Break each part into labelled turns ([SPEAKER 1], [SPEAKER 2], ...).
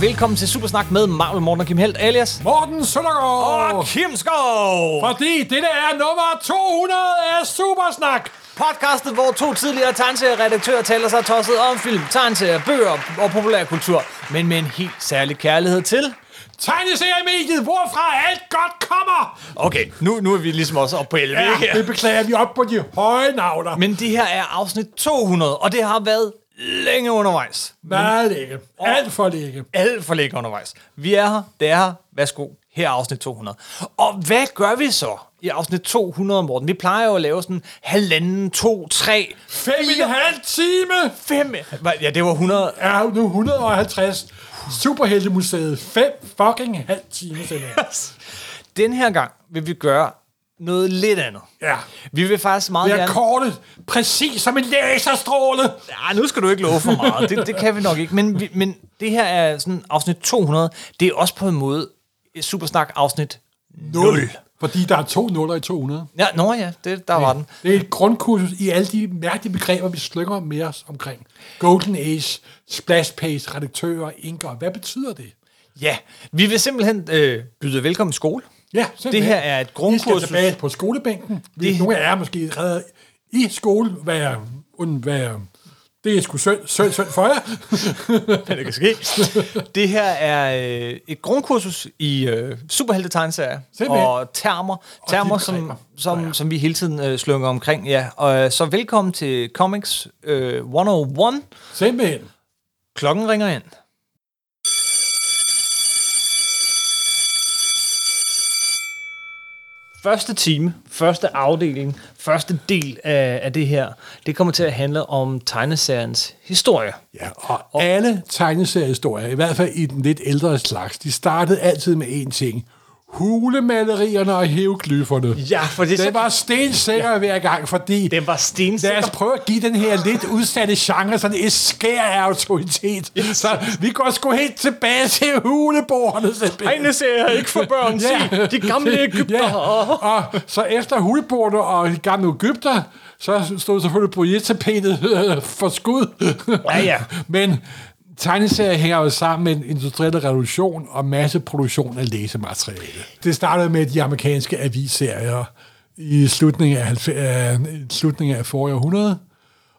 [SPEAKER 1] velkommen til Supersnak med Marvel Morten og Kim Helt, alias
[SPEAKER 2] Morten Søndergaard!
[SPEAKER 1] og Kim Skov!
[SPEAKER 2] Fordi dette er nummer 200 af Supersnak!
[SPEAKER 1] Podcastet, hvor to tidligere tegneserieredaktører taler sig tosset om film, tegneserier, bøger og populærkultur, men med en helt særlig kærlighed til...
[SPEAKER 2] Tegneseriemediet, hvorfra alt godt kommer!
[SPEAKER 1] Okay, nu, nu er vi ligesom også oppe på 11, ikke?
[SPEAKER 2] Ja, det beklager vi op på de høje navler.
[SPEAKER 1] Men det her er afsnit 200, og det har været længe undervejs.
[SPEAKER 2] Meget længe. Alt for længe.
[SPEAKER 1] Alt for længe undervejs. Vi er her, det er her. Værsgo, her er afsnit 200. Og hvad gør vi så i afsnit 200, Morten? Vi plejer jo at lave sådan halvanden, to, tre,
[SPEAKER 2] Fem i en halv time!
[SPEAKER 1] fem... Ja, det var 100...
[SPEAKER 2] Er jo nu 150. Superheltemuseet. Fem fucking halv time, sender jeg.
[SPEAKER 1] Den her gang vil vi gøre noget lidt andet.
[SPEAKER 2] Ja.
[SPEAKER 1] Vi vil faktisk meget
[SPEAKER 2] Jeg er
[SPEAKER 1] gerne...
[SPEAKER 2] kortet, præcis som en laserstråle.
[SPEAKER 1] Ja, nu skal du ikke love for meget. Det, det kan vi nok ikke. Men, vi, men det her er sådan afsnit 200. Det er også på en måde et Supersnak afsnit 0.
[SPEAKER 2] Fordi der er to nuller i 200.
[SPEAKER 1] Ja, nå ja, det, der var den.
[SPEAKER 2] Det er et grundkursus i alle de mærkelige begreber, vi slynger med os omkring. Golden Age, splash page, redaktører, inker. Hvad betyder det?
[SPEAKER 1] Ja, vi vil simpelthen øh, byde velkommen i skole.
[SPEAKER 2] Ja,
[SPEAKER 1] Det
[SPEAKER 2] simpelthen.
[SPEAKER 1] her er et
[SPEAKER 2] I skal
[SPEAKER 1] grundkursus.
[SPEAKER 2] tilbage på skolebænken. Vi,
[SPEAKER 1] Det-
[SPEAKER 2] det... Nogle af jer er måske redder i skole. Hvad er, und, hvad er, det er sgu synd, synd, synd for jer.
[SPEAKER 1] Hvad det kan ske. Det her er øh, et grundkursus i øh, superheltetegneserier
[SPEAKER 2] Simpelthen.
[SPEAKER 1] og termer, termer som,
[SPEAKER 2] begreber.
[SPEAKER 1] som, ja. som vi hele tiden øh, slynger omkring. Ja. Og, øh, så velkommen til Comics øh, 101.
[SPEAKER 2] simpelthen.
[SPEAKER 1] Klokken ringer ind. Første time, første afdeling, første del af, af det her, det kommer til at handle om tegneseriens historie.
[SPEAKER 2] Ja, og alle tegneseriehistorier, i hvert fald i den lidt ældre slags, de startede altid med én ting. Hulemalerierne og hieroglyferne.
[SPEAKER 1] Ja, for det,
[SPEAKER 2] Det var stensikker ja. hver gang, fordi
[SPEAKER 1] Den var stensikker.
[SPEAKER 2] Lad os prøve at give den her lidt udsatte genre sådan et skær af autoritet. Så vi går sgu helt tilbage til huleborerne. Sebastian.
[SPEAKER 1] tegneserier ikke for børn, ja. de gamle ægypter.
[SPEAKER 2] Ja. Og så efter huleborerne og de gamle Ægypter, så stod selvfølgelig brydetapetet øh, for skud.
[SPEAKER 1] Ja, ja.
[SPEAKER 2] Men tegneserier hænger jo sammen med en industriel revolution og masseproduktion af læsemateriale. Det startede med de amerikanske avisserier i slutningen af, halvfe- af, slutningen af forrige århundrede.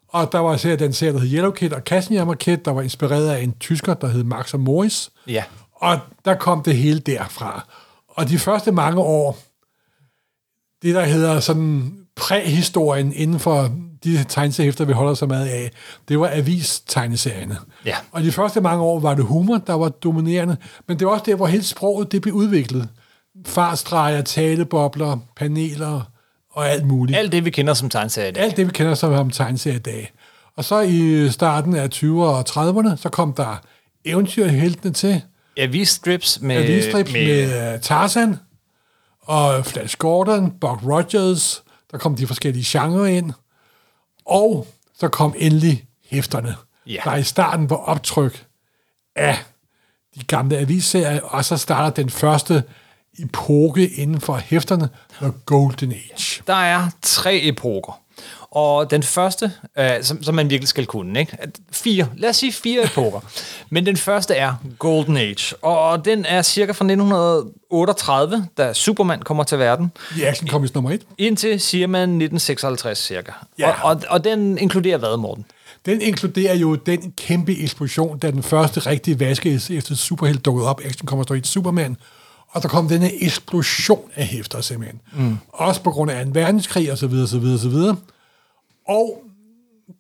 [SPEAKER 2] Og der var serier, den serie, der hed Yellow Kid og Casimir Kid, der var inspireret af en tysker, der hed Max og Morris.
[SPEAKER 1] Ja.
[SPEAKER 2] Og der kom det hele derfra. Og de første mange år, det der hedder sådan præhistorien inden for de tegneseriehæfter, vi holder så meget af, det var avis-tegneserierne.
[SPEAKER 1] Ja.
[SPEAKER 2] Og de første mange år var det humor, der var dominerende, men det var også der, hvor hele sproget det blev udviklet. Farstreger, talebobler, paneler og alt muligt.
[SPEAKER 1] Alt det, vi kender som tegneserier i dag.
[SPEAKER 2] Alt det, vi kender som som tegneserie i dag. Og så i starten af 20'erne og 30'erne, så kom der eventyrheltene til.
[SPEAKER 1] Avisstrips Øh, med...
[SPEAKER 2] Avisstrips med, med øh, Tarzan og Flash Gordon, Buck Rogers. Der kom de forskellige genrer ind. Og så kom endelig hæfterne,
[SPEAKER 1] Ja.
[SPEAKER 2] der i starten var optryk af de gamle avisserier, og så starter den første epoke inden for hæfterne, The Golden Age.
[SPEAKER 1] Der er tre epoker. Og den første, øh, som, som man virkelig skal kunne, ikke? At Fire, lad os sige fire epoker. Men den første er Golden Age, og den er cirka fra 1938, da Superman kommer til verden,
[SPEAKER 2] I Action Comics nummer 1.
[SPEAKER 1] indtil, siger man, 1956 cirka.
[SPEAKER 2] Ja.
[SPEAKER 1] Og, og, og den inkluderer hvad, Morten?
[SPEAKER 2] Den inkluderer jo den kæmpe eksplosion, da den første rigtige vaske efter Superheld dukkede op, Action kommer stå i Superman, og der kom denne eksplosion af hæfter simpelthen. Mm. Også på grund af en verdenskrig og så videre, så videre, så videre. Og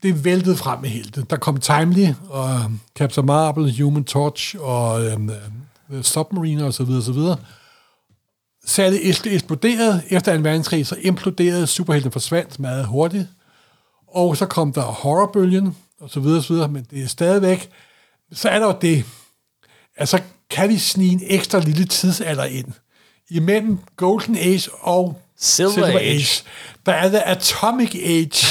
[SPEAKER 2] det væltede frem med helte. Der kom Timely og Captain Marvel, Human Torch og øhm, øh, Submariner og så videre, så videre. Salget es- eksploderede efter 2. verdenskrig, så imploderede superheltene forsvandt meget hurtigt. Og så kom der horrorbølgen, og så videre, så videre, men det er stadigvæk, så er der jo det, at så kan vi snige en ekstra lille tidsalder ind. Imellem Golden Age og
[SPEAKER 1] Silver Age.
[SPEAKER 2] Der er The Atomic Age.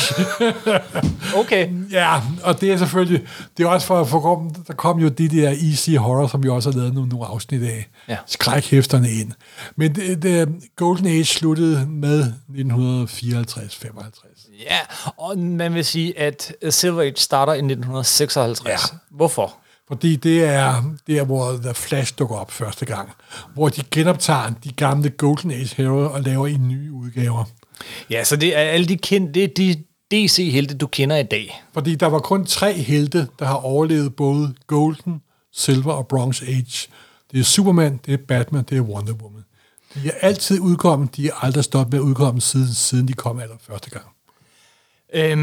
[SPEAKER 1] Okay.
[SPEAKER 2] ja, og det er selvfølgelig, det er også for, for kom, der kom jo de der easy horror, som vi også har lavet nogle, nogle afsnit af.
[SPEAKER 1] Ja.
[SPEAKER 2] Skrækhæfterne ind. Men det, det, Golden Age sluttede med 1954-55.
[SPEAKER 1] Ja, og man vil sige, at Silver Age starter i 1956. Ja.
[SPEAKER 2] Ja.
[SPEAKER 1] Hvorfor?
[SPEAKER 2] Fordi det er der, hvor The Flash dukker op første gang. Hvor de genoptager de gamle Golden Age heroes og laver i nye udgaver.
[SPEAKER 1] Ja, så det er alle de kendte, det er de DC-helte, du kender i dag.
[SPEAKER 2] Fordi der var kun tre helte, der har overlevet både Golden, Silver og Bronze Age. Det er Superman, det er Batman, det er Wonder Woman. De er altid udkommet, de er aldrig stoppet med at udkomme, siden, siden de kom aller første gang.
[SPEAKER 1] Øhm,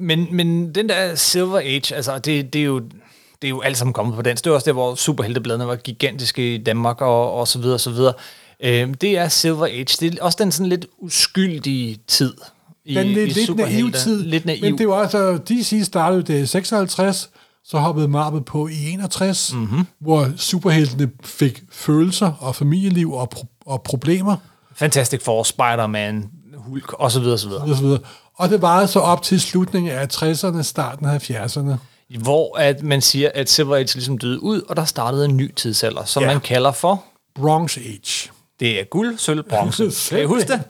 [SPEAKER 1] men, men den der Silver Age, altså det, det er jo det er jo alt sammen kommet på dansk. Det er også der, hvor superheltebladene var gigantiske i Danmark og, og så videre og så videre. Øhm, det er Silver Age. Det er også den sådan lidt uskyldige tid i,
[SPEAKER 2] den
[SPEAKER 1] i
[SPEAKER 2] lidt, lidt naive
[SPEAKER 1] superhelte.
[SPEAKER 2] tid.
[SPEAKER 1] Lidt naiv.
[SPEAKER 2] Men det var altså, DC startede jo det i 56, så hoppede Marvel på i 61,
[SPEAKER 1] Mhm.
[SPEAKER 2] mm-hmm. hvor superheltene fik følelser og familieliv og, pro- og problemer
[SPEAKER 1] Fantastic Four, Spider-Man, Hulk og så videre og så videre.
[SPEAKER 2] og så videre. Og det varede så op til slutningen af 60'erne, starten af 70'erne.
[SPEAKER 1] Hvor at man siger, at Silver Age ligesom døde ud, og der startede en ny tidsalder, som
[SPEAKER 2] Ja.
[SPEAKER 1] ja. man kalder for
[SPEAKER 2] Bronze Age.
[SPEAKER 1] Det er guld, sølv, bronze. kan I huske det?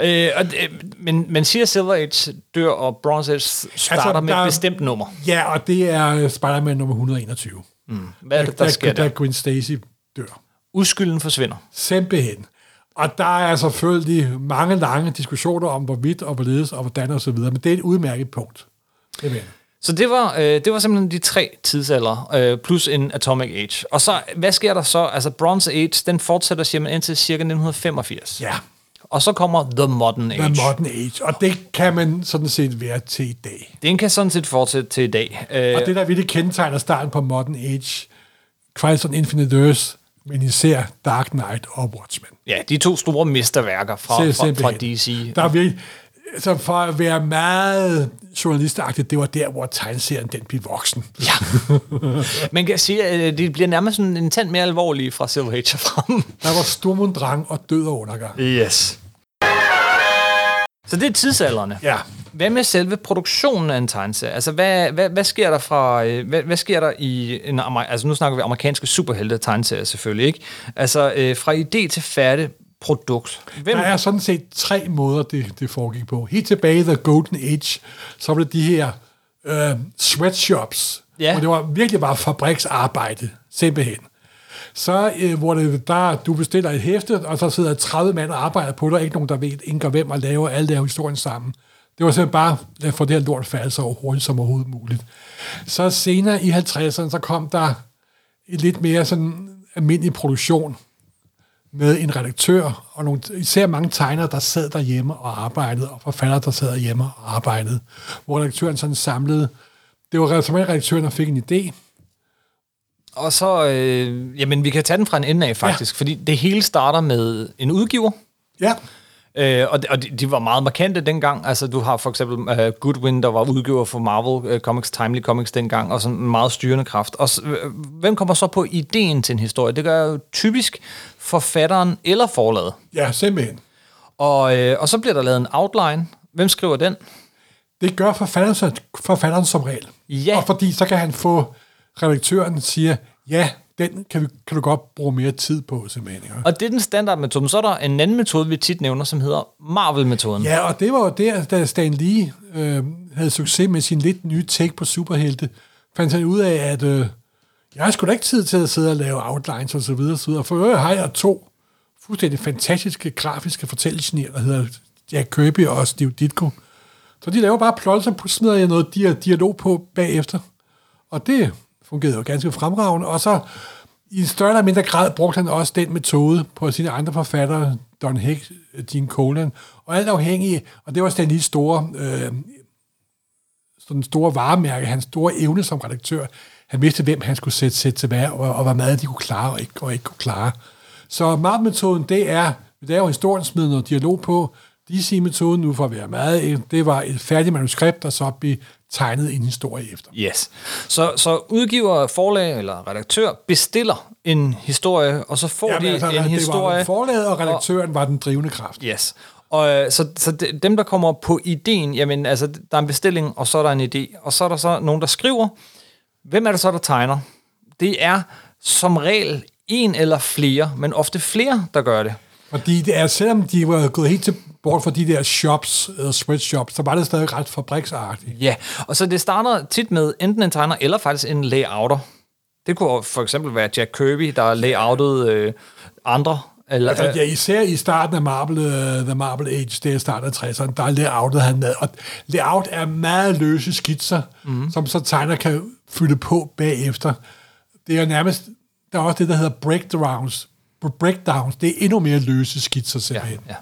[SPEAKER 1] øh, og, det- men man siger, at Silver Age dør, og Bronze Age starter altså,
[SPEAKER 2] Altså,
[SPEAKER 1] med
[SPEAKER 2] der-
[SPEAKER 1] et bestemt nummer.
[SPEAKER 2] Ja, og det er øh, Spider-Man nummer 121. Mm.
[SPEAKER 1] Hvad er det, der sker
[SPEAKER 2] der?
[SPEAKER 1] der?
[SPEAKER 2] Da Gwen Stacy dør.
[SPEAKER 1] Uskylden forsvinder.
[SPEAKER 2] Simpelthen. Og der er altså selvfølgelig mange lange diskussioner om, hvorvidt og hvorledes og hvordan og så videre, men det er et udmærket punkt. Det mener. jeg.
[SPEAKER 1] Så det var, øh, det var simpelthen de tre tidsalder, øh, plus en Atomic Age. Og så, hvad sker der så? Altså, Bronze Age, den fortsætter siger man, indtil cirka 1985.
[SPEAKER 2] Ja,
[SPEAKER 1] Og så kommer The Modern Age.
[SPEAKER 2] The Modern Age, og det kan man sådan set være til i dag.
[SPEAKER 1] den kan sådan set fortsætte til i dag. Øh,
[SPEAKER 2] Og det, der virkelig kendetegner starten på Modern Age, Christ on Infinite Earth, men især Dark Knight og Watchmen.
[SPEAKER 1] ja, de to store mesterværker fra, fra,
[SPEAKER 2] Sim-
[SPEAKER 1] fra
[SPEAKER 2] simpelthen.
[SPEAKER 1] DC.
[SPEAKER 2] Der er virkelig, så for at være meget journalistagtigt, det var der, hvor tegneserien den blev voksen.
[SPEAKER 1] Ja. Man kan sige, at øh, det bliver nærmest sådan en tand mere alvorlige fra Silver Age og frem.
[SPEAKER 2] Der var stormundrang og død og undergang.
[SPEAKER 1] Yes. Så det er tidsalderne.
[SPEAKER 2] Ja,
[SPEAKER 1] Hvad med selve produktionen af en tegneserie? Altså, hvad, hvad, hvad sker der fra... øh, Hvad, hvad sker der i... En, amer- altså, nu snakker vi amerikanske superhelte tegneserier selvfølgelig, ikke? Altså, øh, fra idé til færdig produkt. Hvem,
[SPEAKER 2] Der er sådan set tre måder, det, det foregik på. Helt tilbage i The Golden Age, så var det de her øh, sweatshops,
[SPEAKER 1] Ja.
[SPEAKER 2] hvor det var, virkelig var fabriksarbejde, simpelthen. Så øh, hvor det, der, du bestiller et hæfte, og så sidder 30 mand og arbejder på det, og ikke nogen, der ved, ikke hvem, og laver alle der historien sammen. Det var simpelthen bare øh, at få det her lort faldet så hurtigt som overhovedet muligt. Så senere i 50'erne, så kom der et lidt mere sådan almindelig produktion, med en redaktør og nogle, især mange tegnere, der sad derhjemme og arbejdede, og forfattere, der sad derhjemme og arbejdede, hvor redaktøren sådan samlede. Det var simpelthen redaktøren, der fik en idé.
[SPEAKER 1] Og så... Øh, jamen, vi kan tage den fra en ende af, faktisk. Ja. Fordi det hele starter med en udgiver,
[SPEAKER 2] Ja,
[SPEAKER 1] Øh, og de, og de, de var meget markante dengang. Altså, du har for eksempel øh, Goodwin, der var udgiver for Marvel øh, Comics, Timely Comics dengang, og sådan en meget styrende kraft. Og s- øh, hvem kommer så på ideen til en historie? Det gør jo typisk forfatteren eller forlaget.
[SPEAKER 2] ja, simpelthen.
[SPEAKER 1] Og, øh, og så bliver der lavet en outline. Hvem skriver den?
[SPEAKER 2] Det gør forfatteren, så- forfatteren som regel.
[SPEAKER 1] Ja.
[SPEAKER 2] Og fordi så kan han få redaktøren siger, ja, den kan, vi, kan du godt bruge mere tid på, simpelthen. Ikke?
[SPEAKER 1] Og det er den standardmetode. Men Så er der en anden metode, vi tit nævner, som hedder Marvel-metoden.
[SPEAKER 2] Ja, og det var jo der, da Stan Lee øh, havde succes med sin lidt nye take på superhelte, fandt han ud af, at øh, jeg har sgu da ikke tid til at sidde og lave outlines og så videre, og så videre. for øvrigt har jeg to fuldstændig fantastiske grafiske fortællegenier, der hedder Jack Kirby og Steve Ditko. Så de laver bare plot, så smider jeg noget dia- dialog på bagefter. Og det fungerede jo ganske fremragende. Og så i en større eller mindre grad brugte han også den metode på sine andre forfattere, Don Hick, Gene Colan, og alt afhængig, og det var Stan Lees store, øh, sådan store varemærke, hans store evne som redaktør. Han vidste, hvem han skulle sætte, sætte til hvad, og, og hvor meget de kunne klare og ikke, og ikke kunne klare. Så Marvel-metoden, det er, vi laver historien, smider noget dialog på. DC-metoden, nu for at være meget, det var et færdigt manuskript, der så blev tegnet en historie efter.
[SPEAKER 1] Yes. Så, så udgiver, forlag eller redaktør bestiller en historie, og så får
[SPEAKER 2] Jamen,
[SPEAKER 1] de
[SPEAKER 2] altså,
[SPEAKER 1] en
[SPEAKER 2] Det var
[SPEAKER 1] historie.
[SPEAKER 2] forlaget, og redaktøren og... var den drivende kraft.
[SPEAKER 1] Yes. Og, øh, så, så de- dem, der kommer på ideen, jamen altså, der er en bestilling, og så er der en idé, og så er der så nogen, der skriver. Hvem er det så, der tegner? Det er som regel en eller flere, men ofte flere, der gør det.
[SPEAKER 2] Fordi det er, selvom de var gået helt til bort fra de der shops, uh, sweatshops, så var det stadig ret fabriksagtigt.
[SPEAKER 1] Ja, og så det starter tit med enten en tegner eller faktisk en layouter. Det kunne for eksempel være Jack Kirby, der layoutet øh, andre. Eller,
[SPEAKER 2] Altså, ja, især i starten af Marble, uh, The Marble Age, det er starten af 60'erne, der er layoutet han med. Og layout er meget løse skitser,
[SPEAKER 1] Mhm.
[SPEAKER 2] mm. som så tegner kan fylde på bagefter. Det er nærmest, der er også det, der hedder breakdowns. Breakdowns, det er endnu mere løse skitser simpelthen.
[SPEAKER 1] øh, ja.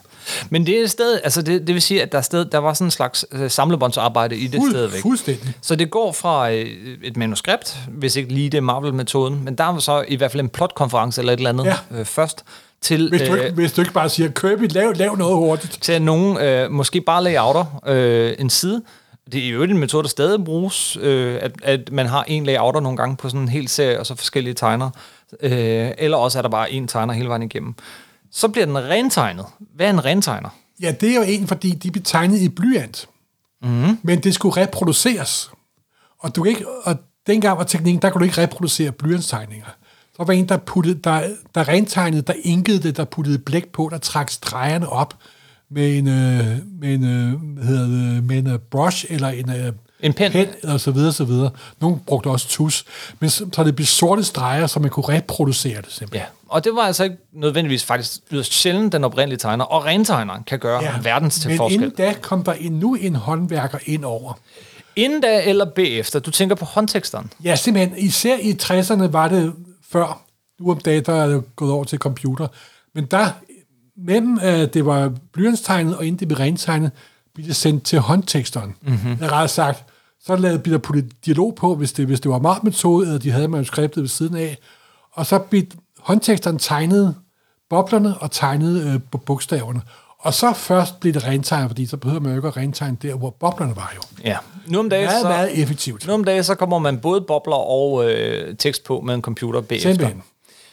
[SPEAKER 1] Men det er stadig, altså det, det vil sige, at der, er sted, der var sådan en slags øh, samlebåndsarbejde i det
[SPEAKER 2] Fuld-
[SPEAKER 1] stadigvæk.
[SPEAKER 2] fuldstændig.
[SPEAKER 1] Så det går fra øh, et manuskript, hvis ikke lige det er Marvel-metoden, men der er så i hvert fald en plotkonference eller et eller andet
[SPEAKER 2] Ja.
[SPEAKER 1] øh, først, til, øh,
[SPEAKER 2] Hvis du, ikke, hvis du ikke bare siger, Kirby, lav, lav noget hurtigt.
[SPEAKER 1] til at nogen øh, måske bare layouter øh, en side. Det er jo en metode, der stadig bruges, øh, at, at man har en layouter nogle gange på sådan en hel serie, og så forskellige tegnere. Øh, eller også er der bare en tegner hele vejen igennem. Så bliver den rentegnet. Hvad er en rentegner?
[SPEAKER 2] Ja, det er jo en, fordi de blev tegnet i blyant.
[SPEAKER 1] Mhm.
[SPEAKER 2] Mm. Men det skulle reproduceres. Og, du kan ikke, og dengang var teknikken, der kunne du ikke reproducere blyantstegninger. Så var en, der, puttede, der, der rentegnede, der inkede det, der puttede blæk på, der trak stregerne op med en, øh, med en, øh, hvad hedder det, med en øh, brush eller en, øh,
[SPEAKER 1] En pen.
[SPEAKER 2] pen eller så videre, så videre. Nogle brugte også tus. Men så, så det blev sorte streger, så man kunne reproducere det simpelthen.
[SPEAKER 1] Ja, og det var altså ikke nødvendigvis faktisk yderst sjældent, den oprindelige tegner og rentegneren kan gøre ja, verdens til
[SPEAKER 2] men
[SPEAKER 1] forskel.
[SPEAKER 2] inden da kom der endnu en håndværker ind over.
[SPEAKER 1] Inden da eller bagefter, du tænker på håndteksteren.
[SPEAKER 2] Ja, simpelthen. Især i 60'erne var det før. Nu om dagen der er det jo gået over til computer. Men der, mellem øh, det var blyantstegnet og inden det blev rentegnet, blev det sendt til håndteksteren. Mm-hmm. Det er ret sagt. Så lavede, blev der puttet dialog på, hvis det, hvis det var meget metode, eller de havde manuskriptet ved siden af. Og så blev håndteksteren tegnet boblerne og tegnet øh, bu- bogstaverne. Og så først blev det rentegnet, fordi så behøver man jo ikke at rentegne der, hvor boblerne var jo.
[SPEAKER 1] Ja. Nu om
[SPEAKER 2] Det
[SPEAKER 1] dagen,
[SPEAKER 2] er
[SPEAKER 1] så,
[SPEAKER 2] meget effektivt.
[SPEAKER 1] nu om dagen, så kommer man både bobler og øh, tekst på med en computer bagefter.
[SPEAKER 2] Simpelthen.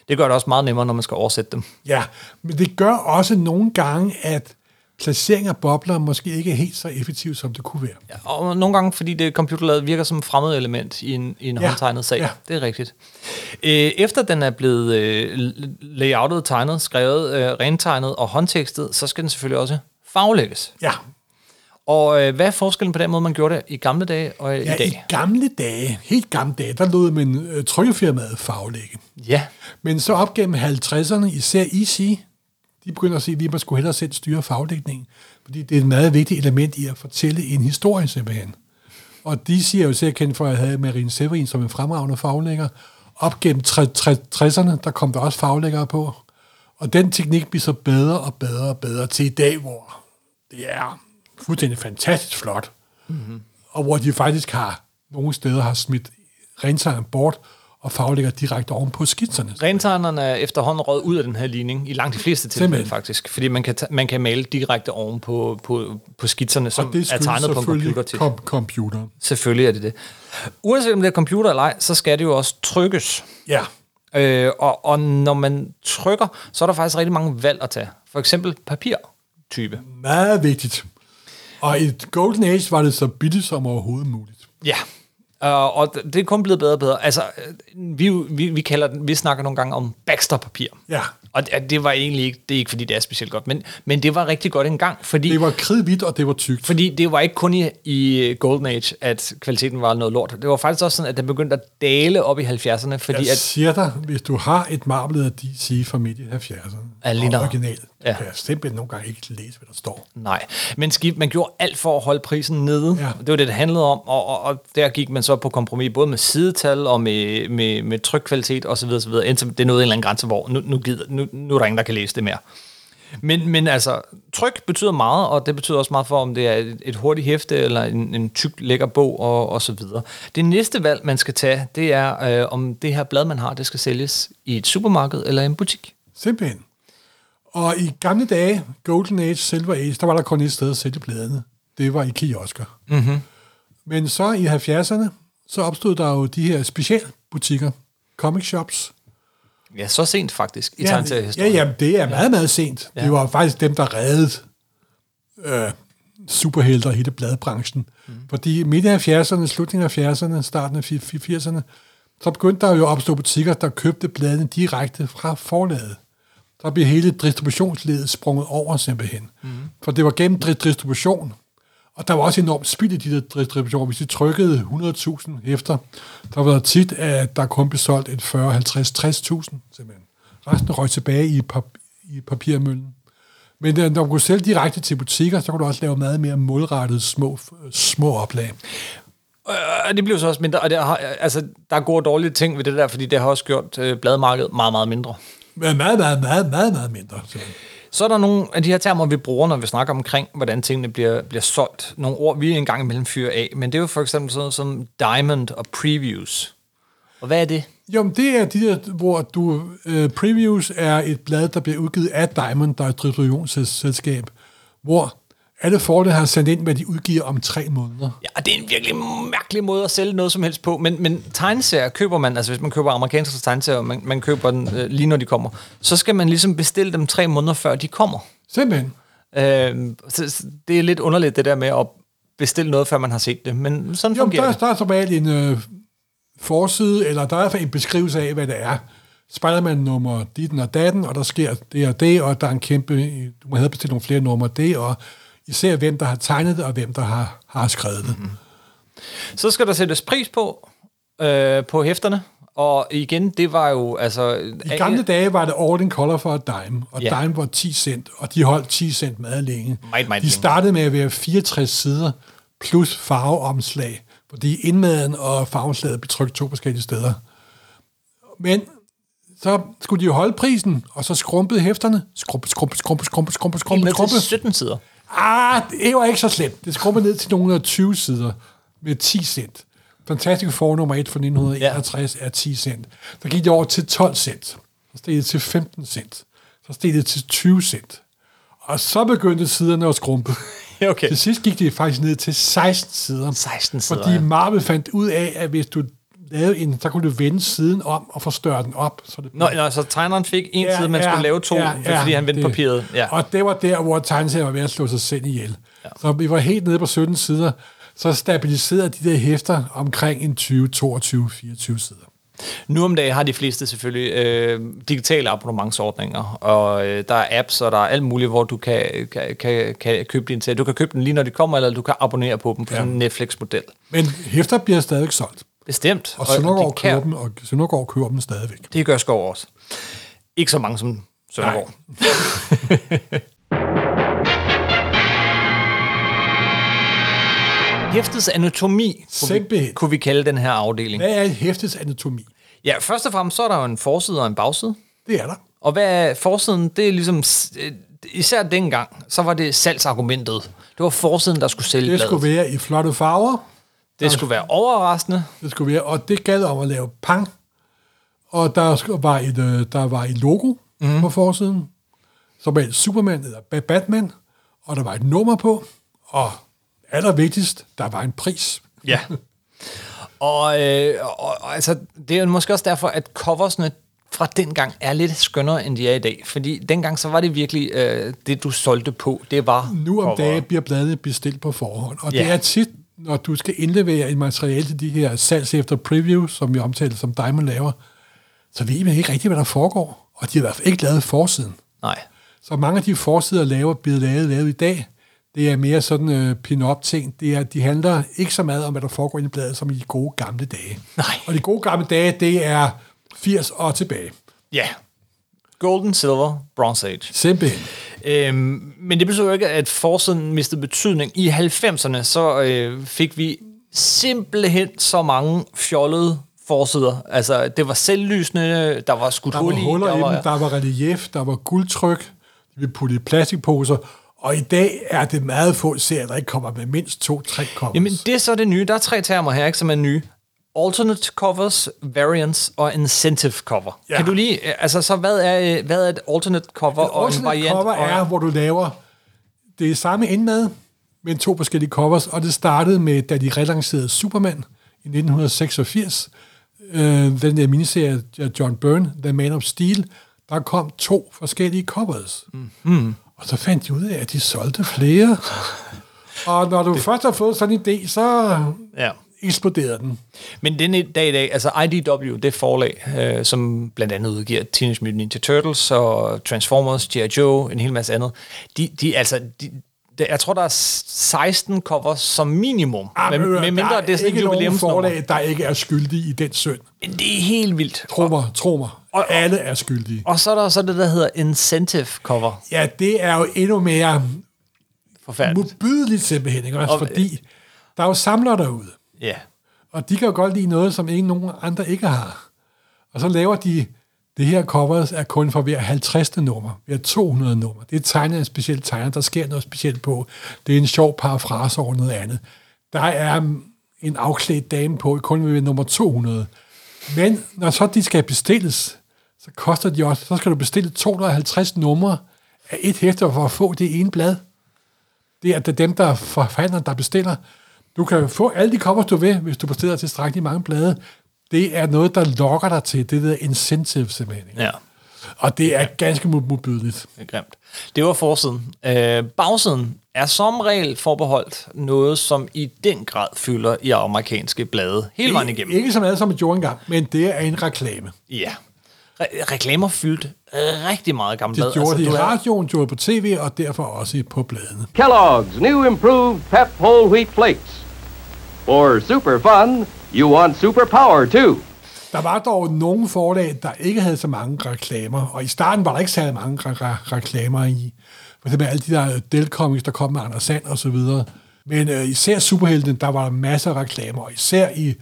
[SPEAKER 1] Det gør det også meget nemmere, når man skal oversætte dem.
[SPEAKER 2] Ja, men det gør også nogle gange, at placering af bobler måske ikke er helt så effektiv, som det kunne være.
[SPEAKER 1] Ja, og nogle gange, fordi det computerlavet virker som et fremmed element i en, i en ja.
[SPEAKER 2] Ja,
[SPEAKER 1] håndtegnet sag. Ja.
[SPEAKER 2] ja.
[SPEAKER 1] Det er rigtigt. Øh, efter den er blevet øh, l- layoutet, tegnet, skrevet, øh, rentegnet og håndtekstet, så skal den selvfølgelig også faglægges.
[SPEAKER 2] Ja,
[SPEAKER 1] Og øh, hvad er forskellen på den måde, man gjorde det i gamle dage og øh,
[SPEAKER 2] ja
[SPEAKER 1] i
[SPEAKER 2] i
[SPEAKER 1] dag?
[SPEAKER 2] gamle dage, helt gamle dage, der lod man øh, trykkefirmaet faglægge.
[SPEAKER 1] Ja.
[SPEAKER 2] Men så op gennem 50'erne, især Easy, de begynder at sige, at man skulle hellere selv styre faglægningen, fordi det er et meget vigtigt element i at fortælle en historie simpelthen. Og de siger jo især kendt for, at jeg havde Marine Severin som en fremragende faglægger. Op gennem tre- tre- 60'erne, der kom der også faglæggere på. Og den teknik bliver så bedre og bedre og bedre til i dag, hvor det er fuldstændig fantastisk flot og hvor de faktisk har nogle steder har smidt renseren bort og faglægger direkte oven på skitserne.
[SPEAKER 1] Rentegnerne er efterhånden røget ud af den her ligning, i langt de fleste tilfælde
[SPEAKER 2] Simpelthen.
[SPEAKER 1] faktisk, fordi man kan, ta- man kan male direkte oven på, på, på skitserne, som
[SPEAKER 2] Og det
[SPEAKER 1] er
[SPEAKER 2] skyldes
[SPEAKER 1] tegnet på en
[SPEAKER 2] selvfølgelig
[SPEAKER 1] computer til.
[SPEAKER 2] kom- computeren.
[SPEAKER 1] Selvfølgelig er det det. Uanset om det er computer eller ej, så skal det jo også trykkes.
[SPEAKER 2] Ja,
[SPEAKER 1] Øh, og, og når man trykker, så er der faktisk rigtig mange valg at tage. For eksempel papirtype.
[SPEAKER 2] meget vigtigt. Og i Golden Age var det så billigt som overhovedet muligt.
[SPEAKER 1] Ja. Øh, og det er kun blevet bedre og bedre. Altså, øh, vi, er jo- vi, vi, kalder den, vi snakker nogle gange om Baxter-papir.
[SPEAKER 2] Ja.
[SPEAKER 1] Og det- det var egentlig ikke, det er ikke fordi det er specielt godt, men, men det var rigtig godt engang, fordi
[SPEAKER 2] Det var kridhvidt, og det var tykt.
[SPEAKER 1] Fordi det var ikke kun i, i øh, Golden Age, at kvaliteten var noget lort. Det var faktisk også sådan, at den begyndte at dale op i 70'erne, fordi
[SPEAKER 2] Jeg
[SPEAKER 1] at...
[SPEAKER 2] siger dig, hvis du har et marblet af DC fra midt i 70'erne,
[SPEAKER 1] Ja, lige nok.
[SPEAKER 2] og original,
[SPEAKER 1] Ja.
[SPEAKER 2] ja. kan jeg simpelthen nogle gange ikke læse, hvad der står.
[SPEAKER 1] Nej, men skib, man gjorde alt for at holde prisen nede.
[SPEAKER 2] Ja.
[SPEAKER 1] Det var det, det handlede om, og, og, og der gik man så på kompromis, både med sidetal og med, med, med trykkvalitet osv., osv., indtil det nåede en eller anden grænse, hvor nu, nu, gider, nu, nu er der ingen, der kan læse det mere. Men, men altså, tryk betyder meget, og det betyder også meget for, om det er et, et hurtigt hæfte eller en, en tyk, lækker bog og, og så videre. Det næste valg, man skal tage, det er, øh, om det her blad, man har, det skal sælges i et supermarked eller en butik.
[SPEAKER 2] Simpelthen. Og i gamle dage, Golden Age, Silver Age, der var der kun et sted at sælge bladene. Det var i kiosker. Mm-hmm. Men så i 70'erne, så opstod der jo de her specialbutikker, comic shops.
[SPEAKER 1] Ja, så sent faktisk, i ja,
[SPEAKER 2] ja, jamen, det er meget, meget sent. Ja. Det var faktisk dem, der reddede øh, superhelter i hele bladbranchen. Mm. Fordi midt i 70'erne, slutningen af 70'erne, starten af 80'erne, så begyndte der jo at opstå butikker, der købte bladene direkte fra forlaget. der blev hele distributionsledet sprunget over simpelthen. Mm. For det var gennem dri- distribution, og der var også enormt spild i de der distributioner. Hvis de trykkede 100.000 hæfter, der var der tit, at der kun blev solgt et 40, 50, 60.000 simpelthen. Resten røg tilbage i, pap- i papirmøllen. Men øh, når du kunne sælge direkte til butikker, så kunne du også lave meget mere målrettede små, små oplag.
[SPEAKER 1] Øh, det blev så også mindre, og der, har, altså, der er gode og dårlige ting ved det der, fordi det har også gjort øh, bladmarkedet meget, meget mindre.
[SPEAKER 2] Men meget, meget, meget, meget, meget mindre. simpelthen.
[SPEAKER 1] Så er der nogle af de her termer, vi bruger, når vi snakker omkring, hvordan tingene bliver, bliver solgt. Nogle ord, vi engang imellem fyrer af, men det er jo for eksempel sådan noget som diamond og previews. Og hvad er det?
[SPEAKER 2] Jo, men det er de der, hvor du... Øh, previews er et blad, der bliver udgivet af Diamond, der er et distributionsselskab, hvor alle forlagene har sendt ind, hvad de udgiver om tre måneder.
[SPEAKER 1] Ja, det er en virkelig mærkelig måde at sælge noget som helst på, men, men tegneserier køber man, altså hvis man køber amerikanske tegneserier, man, man køber den øh, lige når de kommer, så skal man ligesom bestille dem tre måneder før de kommer.
[SPEAKER 2] Simpelthen.
[SPEAKER 1] Øh, så, så det er lidt underligt det der med at bestille noget, før man har set det, men sådan
[SPEAKER 2] Jo, men
[SPEAKER 1] fungerer
[SPEAKER 2] der,
[SPEAKER 1] det.
[SPEAKER 2] der er som regel en øh, forside, eller der er i hvert fald en beskrivelse af, hvad det er. Spider-Man nummer ditten og datten, og der sker det og det, og der er en kæmpe... Du må have bestilt nogle flere numre af det, og især hvem, der har tegnet det, og hvem, der har, har skrevet det. Mm-hmm.
[SPEAKER 1] Så skal der sættes pris på, øh, på hæfterne, og igen, det var jo altså...
[SPEAKER 2] I gamle dage var det all in color for et dime, og
[SPEAKER 1] Ja.
[SPEAKER 2] yeah. dime var 10 cent, og de holdt 10 cent meget længe.
[SPEAKER 1] Meget, meget
[SPEAKER 2] de
[SPEAKER 1] længe.
[SPEAKER 2] startede med at være 64 sider plus farveomslag, fordi indmaden og farveomslaget blev trykt to forskellige steder. Men så skulle de jo holde prisen, og så skrumpede hæfterne. Skrumpe, skrumpe, skrumpe, skrumpe, skrumpe,
[SPEAKER 1] Helt
[SPEAKER 2] skrumpe,
[SPEAKER 1] ned
[SPEAKER 2] skrumpe.
[SPEAKER 1] til 17 sider.
[SPEAKER 2] Ah, det var ikke så slemt. Det skrumpede ned til nogle 20 sider med 10 cent. Fantastic Four nummer 1 fra 1961 ja. er 10 cent. Så gik det over til 12 cent. Så steg det til 15 cent. Så steg det til 20 cent. Og så begyndte siderne at skrumpe.
[SPEAKER 1] Ja, okay.
[SPEAKER 2] Til sidst gik det faktisk ned til 16 sider.
[SPEAKER 1] 16 sider,
[SPEAKER 2] Fordi
[SPEAKER 1] ja.
[SPEAKER 2] Marvel fandt ud af, at hvis du lavede en, så kunne du vende siden om og forstørre den op. Så det
[SPEAKER 1] Nå, nå, så tegneren fik en side, man skulle lave to, øh, fordi han vendte
[SPEAKER 2] det-
[SPEAKER 1] papiret. Ja.
[SPEAKER 2] Og det var der, hvor tegneserien var ved at slå sig selv ihjel. Ja. Så vi var helt nede på 17 sider, så stabiliserede de der hæfter omkring en 20, 22, 24 sider.
[SPEAKER 1] Nu om dagen har de fleste selvfølgelig øh, digitale abonnementsordninger, og øh, der er apps, og der er alt muligt, hvor du kan, kan, kan, kan købe din serie. Du kan købe den lige når de kommer, eller du kan abonnere på dem på ja. sådan en Netflix-model.
[SPEAKER 2] Men hæfter bliver stadigvæk solgt,
[SPEAKER 1] Bestemt.
[SPEAKER 2] og Søndergaard
[SPEAKER 1] det,
[SPEAKER 2] køber
[SPEAKER 1] kan,
[SPEAKER 2] dem, og Søndergaard køber dem stadigvæk.
[SPEAKER 1] det gør Skov også. Ikke så mange som Søndergaard. Hæftets anatomi, kunne vi,
[SPEAKER 2] Simpelthen.
[SPEAKER 1] kunne vi kalde den her afdeling.
[SPEAKER 2] Hvad er et hæftets anatomi?
[SPEAKER 1] Ja, først og fremmest så er der jo en forside og en bagside.
[SPEAKER 2] Det er der.
[SPEAKER 1] Og hvad er forsiden? Det er ligesom... s- øh, Især dengang, så var det salgsargumentet. Det var forsiden, der skulle sælge
[SPEAKER 2] Det
[SPEAKER 1] bladet.
[SPEAKER 2] skulle være i flotte farver,
[SPEAKER 1] det skulle være overraskende.
[SPEAKER 2] det skulle være, og det galt om at lave pang. Og der sk- var et, øh, der var et logo mm. på forsiden, som var et Superman eller Ba- Batman, og der var et nummer på, og allervigtigst, der var en pris.
[SPEAKER 1] Ja. og, øh, og, og altså, det er jo måske også derfor, at coversne fra dengang er lidt skønnere, end de er i dag. Fordi dengang, så var det virkelig øh, det, du solgte på. Det var
[SPEAKER 2] Nu om
[SPEAKER 1] cover.
[SPEAKER 2] dagen bliver bladene bestilt på forhånd, og det
[SPEAKER 1] Ja.
[SPEAKER 2] er tit, når du skal indlevere et materiale til de her salgs efter preview, som vi omtalte, som Diamond laver, så ved man ikke rigtigt, hvad der foregår, og de har i hvert fald ikke lavet forsiden.
[SPEAKER 1] Nej.
[SPEAKER 2] Så mange af de forsider, laver, bliver lavet, lavet i dag, det er mere sådan øh, pin-up ting. Det er, de handler ikke så meget om, hvad der foregår inde i bladet, som i de gode gamle dage.
[SPEAKER 1] Nej.
[SPEAKER 2] Og de gode gamle dage, det er 80 og tilbage.
[SPEAKER 1] Ja. Golden, silver, bronze age.
[SPEAKER 2] Simpelthen.
[SPEAKER 1] Øhm, men det betød jo ikke, at forsiden mistede betydning. I 90'erne, så øh, fik vi simpelthen så mange fjollede forsider. Altså, det var selvlysende, der var skudt
[SPEAKER 2] Der var
[SPEAKER 1] hul i,
[SPEAKER 2] huller i
[SPEAKER 1] der
[SPEAKER 2] dem,
[SPEAKER 1] var,
[SPEAKER 2] der var relief, der var guldtryk, de blev puttet i plastikposer, og i dag er det meget få serier, der ikke kommer med mindst to-tre covers.
[SPEAKER 1] Jamen, det er så det nye. Der er tre termer her, ikke, som er nye. Alternate covers, variants og incentive cover. Ja.
[SPEAKER 2] Ja.
[SPEAKER 1] Kan du lige... Altså, så hvad er, øh, hvad er et alternate cover et og
[SPEAKER 2] Også
[SPEAKER 1] en variant?
[SPEAKER 2] cover
[SPEAKER 1] og,
[SPEAKER 2] er, hvor du laver det samme indmad, men to forskellige covers, og det startede med, da de relancerede Superman i 1986, øh, den der miniserie af John Byrne, The Man of Steel, der kom to forskellige covers. Mm-hmm. Og så fandt de ud af, at de solgte flere. og når du først har fået sådan en idé, så
[SPEAKER 1] Ja.
[SPEAKER 2] eksploderede den.
[SPEAKER 1] Men den i dag i dag, altså IDW, det forlag, øh, som blandt andet udgiver Teenage Mutant Ninja Turtles og Transformers, G.I. Joe, en hel masse andet, de, de altså... De, der, jeg tror, der er 16 covers som minimum.
[SPEAKER 2] Ah,
[SPEAKER 1] med,
[SPEAKER 2] men, øh,
[SPEAKER 1] med mindre
[SPEAKER 2] der
[SPEAKER 1] det er sådan et
[SPEAKER 2] ikke nogen
[SPEAKER 1] jubilæumsnummer.
[SPEAKER 2] forlag, der ikke er skyldige i den synd.
[SPEAKER 1] Men Det er helt vildt.
[SPEAKER 2] Tro mig, tro mig. Alle er skyldige.
[SPEAKER 1] Og så er der så det, der hedder incentive cover.
[SPEAKER 2] Ja, det er jo endnu mere
[SPEAKER 1] Forfærdeligt.
[SPEAKER 2] modbydeligt simpelthen, ikke? Også
[SPEAKER 1] Og-
[SPEAKER 2] fordi der er jo samlere derude,
[SPEAKER 1] Ja.
[SPEAKER 2] og de kan jo godt lide noget, som ingen nogen andre ikke har. Og så laver de, det her covers er kun for hver 50. nummer, hver 200 nummer. Det er tegnet af en speciel tegner, der sker noget specielt på. Det er en sjov parafrase over noget andet. Der er mm, en afklædt dame på, kun ved nummer 200. Men når så de skal bestilles, så koster de også, så skal du bestille 250 numre af et hæfte for at få det ene blad. det er, at det er dem, der forfatter, der bestiller. Du kan få alle de covers, du vil, hvis du bestiller tilstrækkeligt mange blade. Det er noget, der lokker dig til det der incentive, simpelthen. ikke?
[SPEAKER 1] Ja,
[SPEAKER 2] Og det er ganske mod- modbydeligt.
[SPEAKER 1] det er grimt. Det var forsiden. Øh, bagsiden er som regel forbeholdt noget, som i den grad fylder i amerikanske blade hele vejen igennem.
[SPEAKER 2] Ikke som alle sammen gjorde engang, men det er en reklame.
[SPEAKER 1] Ja. Re- reklamer fyldte rigtig meget gammelt
[SPEAKER 2] Det
[SPEAKER 1] blad.
[SPEAKER 2] gjorde
[SPEAKER 1] Altså, du
[SPEAKER 2] de i
[SPEAKER 1] havde-
[SPEAKER 2] radioen, gjorde det på tv, og derfor også på bladene.
[SPEAKER 3] Kellogg's new improved Pep Whole Wheat Flakes. For super fun, you want super power too.
[SPEAKER 2] Der var dog nogle forlag, der ikke havde så mange reklamer, og i starten var der ikke særlig mange re- re- reklamer i. For eksempel alle de der Dell-comics, der kom med Anders Sand og så videre. Men øh, især superheltene, der var der masser af reklamer, og især i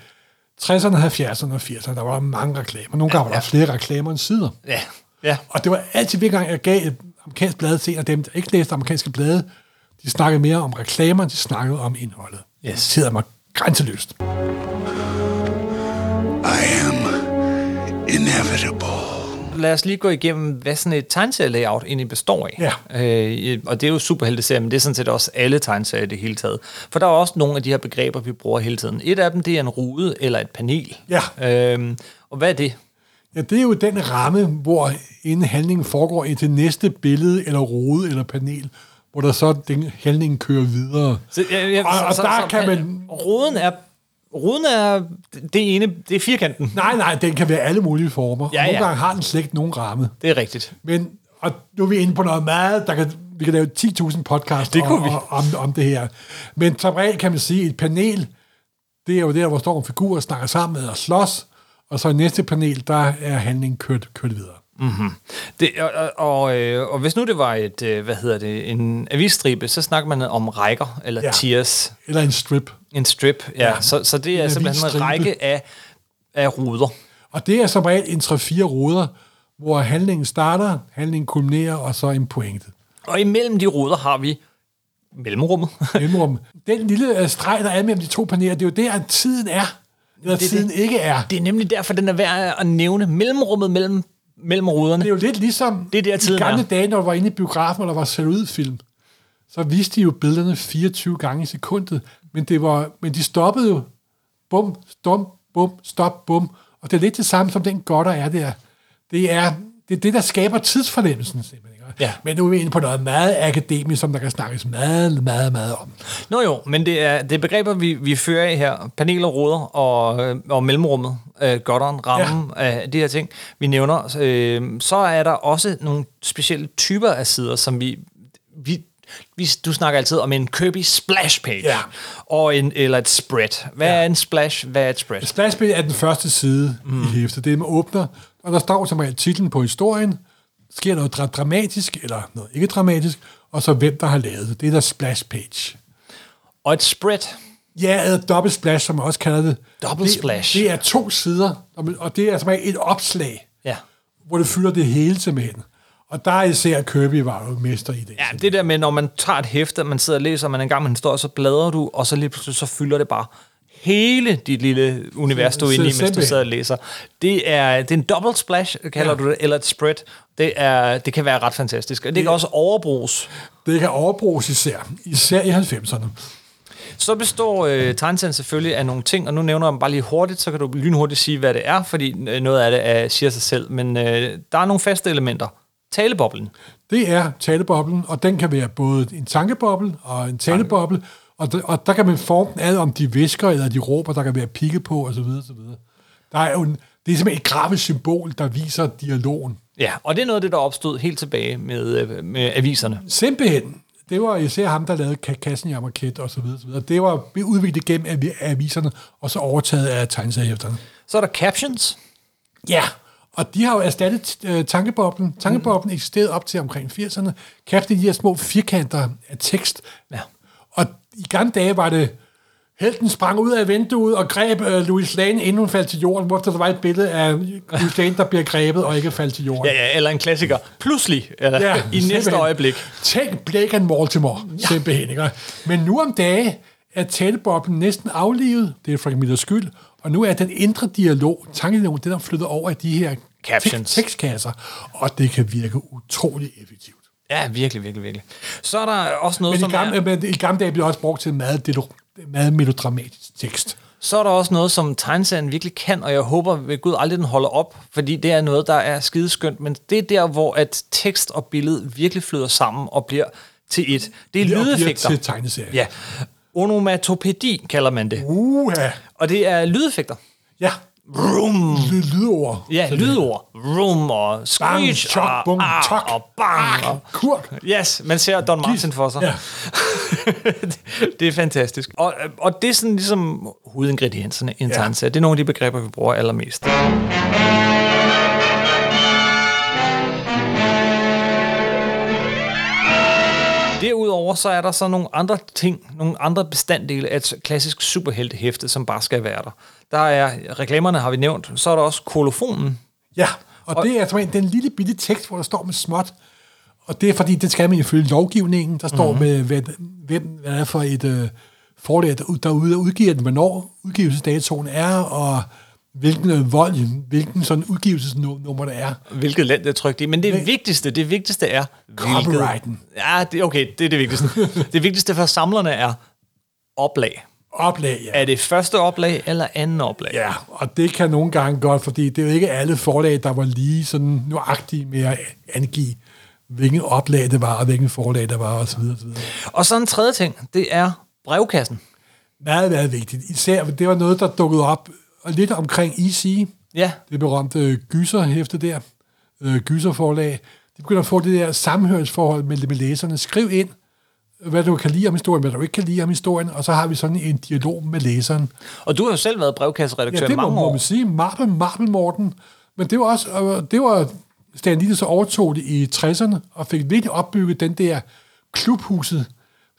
[SPEAKER 2] 60'erne, 70'erne og 80'erne, der var der mange reklamer. Nogle gange var der flere reklamer end sider.
[SPEAKER 1] Ja. ja.
[SPEAKER 2] Og det var altid, hver gang jeg gav et amerikansk blad til en af dem, der ikke læste amerikanske blade, de snakkede mere om reklamer, end de snakkede om indholdet.
[SPEAKER 1] Yes.
[SPEAKER 2] Det sidder mig grænseløst.
[SPEAKER 4] I am inevitable.
[SPEAKER 1] Lad os lige gå igennem, hvad sådan et tegnserielayout egentlig består af.
[SPEAKER 2] Ja.
[SPEAKER 1] Øh, og det er jo superhelteserier, men det er sådan set også alle tegneserier i det hele taget. For der er også nogle af de her begreber, vi bruger hele tiden. Et af dem, det er en rude eller et panel.
[SPEAKER 2] Ja.
[SPEAKER 1] Øhm, og hvad er det?
[SPEAKER 2] Ja, det er jo den ramme, hvor inden handlingen foregår indtil næste billede, eller rode, eller panel, hvor der så den handling kører videre.
[SPEAKER 1] Så, ja, ja,
[SPEAKER 2] og, og
[SPEAKER 1] så-
[SPEAKER 2] der
[SPEAKER 1] så-
[SPEAKER 2] kan man...
[SPEAKER 1] Ruden er... Ruden er det ene, det er firkanten.
[SPEAKER 2] Nej, nej, den kan være alle mulige former.
[SPEAKER 1] Ja,
[SPEAKER 2] og nogle
[SPEAKER 1] ja.
[SPEAKER 2] gange har den slet ikke nogen ramme.
[SPEAKER 1] Det er rigtigt.
[SPEAKER 2] Men, og nu er vi inde på noget meget, der kan, vi kan lave 10.000 podcasts
[SPEAKER 1] Det kunne
[SPEAKER 2] om,
[SPEAKER 1] vi.
[SPEAKER 2] om, om det her. Men som regel kan man sige, et panel, det er jo der, hvor står en figur og snakker sammen med og slås, og så i næste panel, der er handlingen kørt, kørt videre.
[SPEAKER 1] Det, og, og, og, øh, og hvis nu det var et, øh, hvad hedder det, en avisstribe, så snakker man om rækker, eller ja.
[SPEAKER 2] Ja.
[SPEAKER 1] tiers,
[SPEAKER 2] Eller en strip.
[SPEAKER 1] en strip. Ja. Ja. Så, så det er
[SPEAKER 2] En
[SPEAKER 1] simpelthen en
[SPEAKER 2] avisstribe.
[SPEAKER 1] række af, af ruder.
[SPEAKER 2] Og det er som regel en 3-4 ruder, hvor handlingen starter, handlingen kulminerer, og så en pointe.
[SPEAKER 1] Og imellem de ruder har vi mellemrummet.
[SPEAKER 2] Mellemrum. Den lille øh, streg, der er mellem de to paneler, det er jo der, at tiden er. Eller
[SPEAKER 1] det.
[SPEAKER 2] tiden ikke er.
[SPEAKER 1] det er nemlig derfor, den er værd at nævne mellemrummet mellem, mellem ruderne.
[SPEAKER 2] Det er jo lidt ligesom
[SPEAKER 1] Det er der, tiden
[SPEAKER 2] i gamle
[SPEAKER 1] er.
[SPEAKER 2] dage, når du var inde i biografen, og der var saludfilm. Så viste de jo billederne 24 gange i sekundet. Men, det var, men de stoppede jo. Bum, stum, bum, stop, bum. Og det er lidt det samme som den godter er der. Det er det, er det der skaber tidsfornemmelsen. Simpelthen. ikke?
[SPEAKER 1] Ja.
[SPEAKER 2] Men nu er vi inde på noget meget akademisk, som der kan snakkes meget, meget, meget om.
[SPEAKER 1] Nå jo, men det er, det er begreber, vi, vi fører af her. Paneler, ruder og, øh, og mellemrummet, øh, godteren, rammen ja. af de her ting, vi nævner. Øh, så er der også nogle specielle typer af sider, som vi... vi vi, du snakker altid om en Kirby splash page,
[SPEAKER 2] Ja.
[SPEAKER 1] og en, eller et spread. Hvad ja. er en splash? Hvad er et spread?
[SPEAKER 2] Splashbill er den første side mm. i hæftet. Det er med åbner, og der står som regel titlen på historien, sker noget dra- dramatisk, eller noget ikke dramatisk, og så hvem, der har lavet det. Det er der splash page.
[SPEAKER 1] Og et spread,
[SPEAKER 2] Ja, eller dobbelt splash, som man også kalder det.
[SPEAKER 1] Dobbelt
[SPEAKER 2] det,
[SPEAKER 1] splash.
[SPEAKER 2] Det er to sider, og man- og det er som regel et opslag,
[SPEAKER 1] ja.
[SPEAKER 2] hvor det fylder det hele simpelthen. Og der er især Kirby var jo mester i det.
[SPEAKER 1] Ja, det der med, når man tager et hæfte, man sidder og læser, man er en gang med en historie, så bladrer du, og så lige pludselig så fylder det bare hele dit lille univers, du er
[SPEAKER 2] Så-
[SPEAKER 1] inde i, mens du
[SPEAKER 2] simpelthen.
[SPEAKER 1] sidder og læser. Det er, det er en double splash, kalder ja. du det, eller et spread. Det, er, det kan være ret fantastisk, og det, det kan også overbruges.
[SPEAKER 2] det kan overbruges især, især i 90'erne.
[SPEAKER 1] Så består øh, tegneserien selvfølgelig af nogle ting, og nu nævner jeg dem bare lige hurtigt, så kan du lynhurtigt sige, hvad det er, fordi øh, noget af det er, siger sig selv. Men øh, der er nogle faste elementer. Taleboblen.
[SPEAKER 2] Det er taleboblen, og den kan være både en tankeboble og en taleboble, Og, der, og der kan man forme ad, om de visker eller de råber, der kan være pigge på osv. osv. Der er jo en, det er simpelthen et grafisk symbol, der viser dialogen.
[SPEAKER 1] Ja, og det er noget af det, der opstod helt tilbage med, øh, med aviserne.
[SPEAKER 2] Simpelthen. Det var især ham, der lavede Ka- kassen i Amarket og så videre, så videre. Det var udviklet gennem avi- aviserne, og så overtaget af tegneseriehæfterne.
[SPEAKER 1] Så er der captions.
[SPEAKER 2] Ja, og de har jo erstattet øh, tankeboblen. Tankeboblen mm. eksisterede op til omkring 80'erne. Kæft, de her små firkanter af tekst.
[SPEAKER 1] Ja.
[SPEAKER 2] Og i gamle dage var det, helten sprang ud af vinduet og greb øh, Louis Lane, inden hun faldt til jorden, hvorfor der var et billede af Louis Lane, der bliver grebet og ikke faldt til jorden.
[SPEAKER 1] Ja, ja, eller en klassiker. Pludselig, eller ja, i næste
[SPEAKER 2] simpelthen.
[SPEAKER 1] øjeblik.
[SPEAKER 2] Tænk Blake and Baltimore, ja. simpelthen. Ikke? Men nu om dage er taleboblen næsten aflivet, det er Frank Millers skyld, og nu er den indre dialog, tankedialog, den er flyttet over i de her
[SPEAKER 1] Captions.
[SPEAKER 2] tek- tekstkasser, og det kan virke utrolig effektivt.
[SPEAKER 1] Ja, virkelig, virkelig, virkelig. Så er der også noget,
[SPEAKER 2] Men i
[SPEAKER 1] som
[SPEAKER 2] gamle,
[SPEAKER 1] er,
[SPEAKER 2] men i gamle dage blev det også brugt til meget, dilo- meget melodramatisk tekst.
[SPEAKER 1] så er der også noget, som tegneserien virkelig kan, og jeg håber ved Gud aldrig, den holder op, fordi det er noget, der er skideskønt, men det er der, hvor at tekst og billede virkelig flyder sammen og bliver til et. Det er
[SPEAKER 2] Det bliver
[SPEAKER 1] lydeffekter.
[SPEAKER 2] til tegneserie.
[SPEAKER 1] Ja. Onomatopædi kalder man det.
[SPEAKER 2] Uha!
[SPEAKER 1] Og det er lydeffekter.
[SPEAKER 2] Ja. Vroom. Lyd, lydord.
[SPEAKER 1] Ja, lydord. Room og
[SPEAKER 2] Bang,
[SPEAKER 1] screech
[SPEAKER 2] chok, Ah,
[SPEAKER 1] og,
[SPEAKER 2] bung,
[SPEAKER 1] ah,
[SPEAKER 2] tok.
[SPEAKER 1] og bang. Og,
[SPEAKER 2] Kurk.
[SPEAKER 1] yes, man ser Don Martin for sig.
[SPEAKER 2] Ja.
[SPEAKER 1] det er fantastisk. Og, og det er sådan ligesom hovedingredienserne i en ja. tegneserie. Det er nogle af de begreber, vi bruger allermest. Derudover så er der så nogle andre ting, nogle andre bestanddele af et klassisk superheltehæfte, som bare skal være der. Der er reklamerne, har vi nævnt. Så er der også kolofonen.
[SPEAKER 2] Ja, og, og det er simpelthen den lille bitte tekst, hvor der står med småt, og det er fordi, det skal man ifølge lovgivningen, der står mm-hmm. med, hvad, hvem hvad er for et øh, forlag, der, ud- der ud- udgiver den, hvornår udgivelsesdatoen er, og hvilken øh, vold, hvilken sådan udgivelsesnummer der er.
[SPEAKER 1] Hvilket land det er trygt i. Men det vigtigste, det vigtigste er... hvilket-
[SPEAKER 2] Copyrighten.
[SPEAKER 1] Ja, det, okay, det er det vigtigste. det vigtigste for samlerne er oplag.
[SPEAKER 2] Oplag, ja.
[SPEAKER 1] Er det første oplag eller anden oplag?
[SPEAKER 2] Ja, og det kan nogle gange godt, fordi det er jo ikke alle forlag, der var lige sådan nuagtige med at angive, hvilken oplag det var, og hvilken forlag der var, osv. osv.
[SPEAKER 1] Og så en tredje ting, det er brevkassen.
[SPEAKER 2] Meget, meget vigtigt. Især, det var noget, der dukkede op og lidt omkring EC,
[SPEAKER 1] Ja,
[SPEAKER 2] det berømte øh, gyserhæfte der, øh, gyserforlag. De begynder at få det der samhørsforhold med, med læserne. Skriv ind, hvad du kan lide om historien, hvad du ikke kan lide om historien, og så har vi sådan en dialog med læseren.
[SPEAKER 1] og du har jo selv været brevkasseredaktør
[SPEAKER 2] Ja, det
[SPEAKER 1] i mange
[SPEAKER 2] må, må
[SPEAKER 1] år.
[SPEAKER 2] man sige. Marble, Marble Morten. Men det var også, øh, det var Stan Lee, der så overtog det i 60'erne, og fik virkelig opbygget den der klubhuset.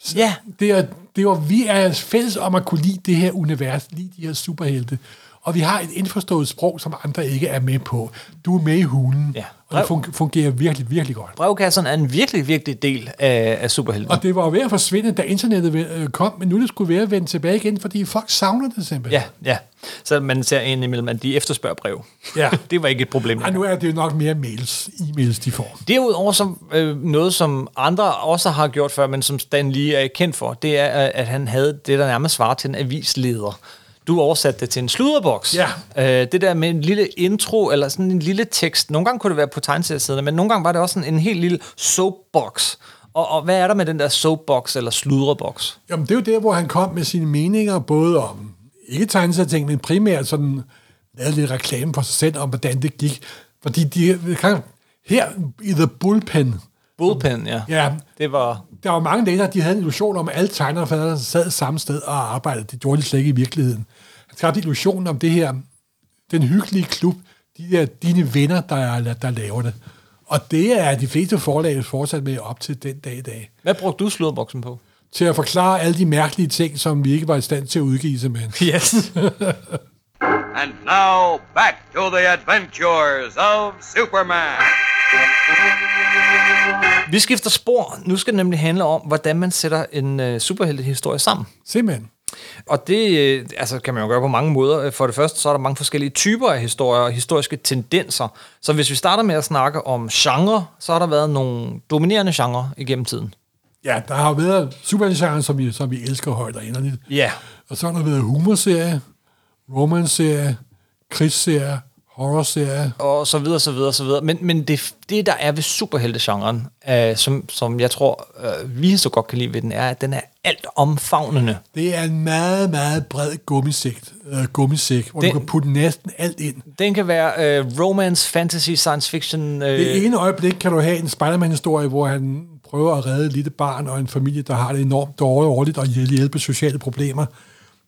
[SPEAKER 2] S-
[SPEAKER 1] Ja.
[SPEAKER 2] Det, er, det var, vi er fælles om at kunne lide det her univers, lide de her superhelte. Og vi har et indforstået sprog, som andre ikke er med på. Du er med i hulen,
[SPEAKER 1] Ja.
[SPEAKER 2] og det fun- fungerer virkelig, virkelig godt.
[SPEAKER 1] Brevkasserne er en virkelig, virkelig del af, af superhelten.
[SPEAKER 2] Og det var jo ved at forsvinde, da internettet øh, kom, men nu er det skulle være at vende tilbage igen, fordi folk savner det simpelthen.
[SPEAKER 1] Ja, ja. Så man ser ind imellem, at de efterspørger brev.
[SPEAKER 2] Ja.
[SPEAKER 1] det var ikke et problem.
[SPEAKER 2] Og nu er det jo nok mere mails, e-mails, de får.
[SPEAKER 1] Derudover så, øh, noget, som andre også har gjort før, men som Stan lige er kendt for, det er, øh, at han havde det, der nærmest svarer til en avisleder. Du oversatte det til en sludderboks.
[SPEAKER 2] Ja.
[SPEAKER 1] Øh, det der med en lille intro, eller sådan en lille tekst. Nogle gange kunne det være på tegneseriesiderne, men nogle gange var det også sådan en helt lille soapbox. Og, og hvad er der med den der soapbox eller sludreboks?
[SPEAKER 2] Jamen, det er jo der, hvor han kom med sine meninger, både om ikke tegneserieting, men primært sådan lavede lidt reklame for sig selv om, hvordan det gik. Fordi de, her i The Bullpen,
[SPEAKER 1] Bullpen, ja.
[SPEAKER 2] ja,
[SPEAKER 1] Det var...
[SPEAKER 2] der var mange læsere, de havde en illusion om, at alle tegnere sad samme sted og arbejdede. Det gjorde de slet ikke i virkeligheden. Han skabte illusionen om det her, den hyggelige klub, de der dine venner, der, er, der laver det. Og det er de fleste forlag fortsat med op til den dag i dag
[SPEAKER 1] Hvad brugte du sludderboksen på?
[SPEAKER 2] til at forklare alle de mærkelige ting, som vi ikke var i stand til at udgive simpelthen.
[SPEAKER 1] Yes.
[SPEAKER 5] And now, back to the adventures of Superman.
[SPEAKER 1] Vi skifter spor. Nu skal det nemlig handle om, hvordan man sætter en øh, superheltehistorie sammen.
[SPEAKER 2] Simpelthen.
[SPEAKER 1] Og det øh, altså, kan man jo gøre på mange måder. For det første, så er der mange forskellige typer af historier og historiske tendenser. Så hvis vi starter med at snakke om genre, så har der været nogle dominerende genre igennem tiden.
[SPEAKER 2] Ja, der har jo været superheltegenren, som vi, som vi elsker højt og inderligt.
[SPEAKER 1] Ja.
[SPEAKER 2] Og så har der været humorserie, romanserie, krigsserie, horrorserie.
[SPEAKER 1] og så videre, så videre, så videre. Men, men det, det, der er ved superheltegenren, øh, som, som jeg tror, øh, vi så godt kan lide ved den, er, at den er alt omfavnende.
[SPEAKER 2] Det er en meget, meget bred gummisæk, øh, gummisæk hvor
[SPEAKER 1] Den-
[SPEAKER 2] du kan putte næsten alt ind.
[SPEAKER 1] Den kan være øh, romance, fantasy, science fiction. Øh,
[SPEAKER 2] Det ene øjeblik kan du have en Spider-Man-historie, hvor han prøver at redde et lille barn og en familie, der har det enormt dårligt årligt og hjæl- hjælpe sociale problemer.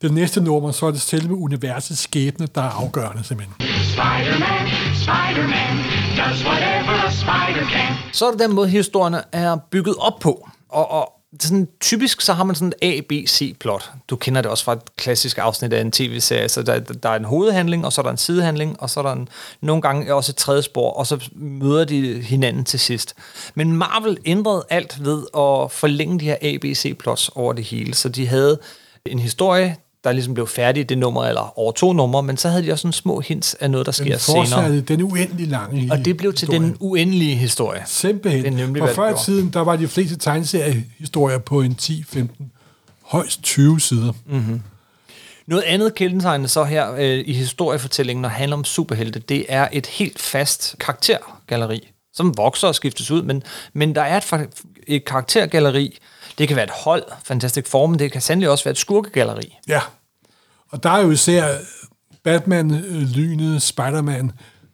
[SPEAKER 2] Det næste nummer, så er det selve universets skæbne, der er afgørende simpelthen.
[SPEAKER 6] Spider-Man, Spider-Man does whatever a spider can.
[SPEAKER 1] Så er det den måde, historierne er bygget op på. Og, og sådan, typisk så har man sådan et A, B, C-plot. Du kender det også fra et klassisk afsnit af en tv-serie. Så der, der er en hovedhandling, og så er der en sidehandling, og så er der en, nogle gange også et tredje spor, og så møder de hinanden til sidst. Men Marvel ændrede alt ved at forlænge de her A, B, C-plots over det hele. Så de havde en historie, der ligesom blev færdig i det nummer, eller over to numre, men så havde de også sådan små hints af noget, der sker
[SPEAKER 2] Den
[SPEAKER 1] senere.
[SPEAKER 2] fortsatte den uendelig lange
[SPEAKER 1] Og det blev til
[SPEAKER 2] historie.
[SPEAKER 1] den uendelige historie.
[SPEAKER 2] Simpelthen.
[SPEAKER 1] Det er nemlig,
[SPEAKER 2] For
[SPEAKER 1] hvad det
[SPEAKER 2] før i
[SPEAKER 1] gjorde.
[SPEAKER 2] tiden, der var de fleste tegneseriehistorier på en 10-15, højst 20 sider. Mm.
[SPEAKER 1] Noget andet kendetegnende så her øh, i historiefortællingen, når det handler om superhelte, det er et helt fast karaktergalleri, som vokser og skiftes ud, men, men der er et, fa- et karaktergalleri. Det kan være et hold, Fantastic Four, men det kan sandelig også være et skurkegalleri.
[SPEAKER 2] Ja. Og der er jo især Batman, øh, Lynet, Spider-Man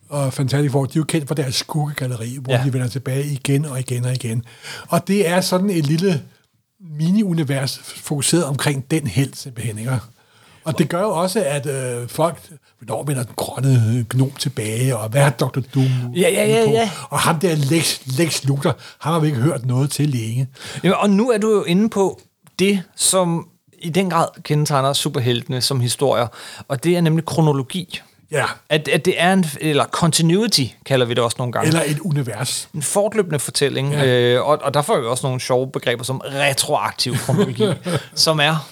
[SPEAKER 2] og Fantastic Four, de er jo kendt for deres skurkegalleri, hvor
[SPEAKER 1] Ja.
[SPEAKER 2] ja. de vender tilbage igen og igen og igen. Og det er sådan et lille mini-univers fokuseret omkring den helt simpelthen, ikke? Og det gør jo også, at øh, folk, hvornår vender den grønne øh, gnom tilbage, og hvad har Dr. Doom
[SPEAKER 1] Ja, ja, ja,
[SPEAKER 2] på?
[SPEAKER 1] ja.
[SPEAKER 2] Og ham der Lex, Lex Luthor, ham har vi ikke hørt noget til længe.
[SPEAKER 1] Jamen, og nu er du jo inde på det, som i den grad kendetegner superheltene som historier, og det er nemlig kronologi.
[SPEAKER 2] Ja,
[SPEAKER 1] At, at det er en, eller continuity kalder vi det også nogle gange.
[SPEAKER 2] eller et univers.
[SPEAKER 1] en fortløbende fortælling, ja.
[SPEAKER 2] Ja.
[SPEAKER 1] øh, og, og der får vi også nogle sjove begreber som retroaktiv kronologi, som er...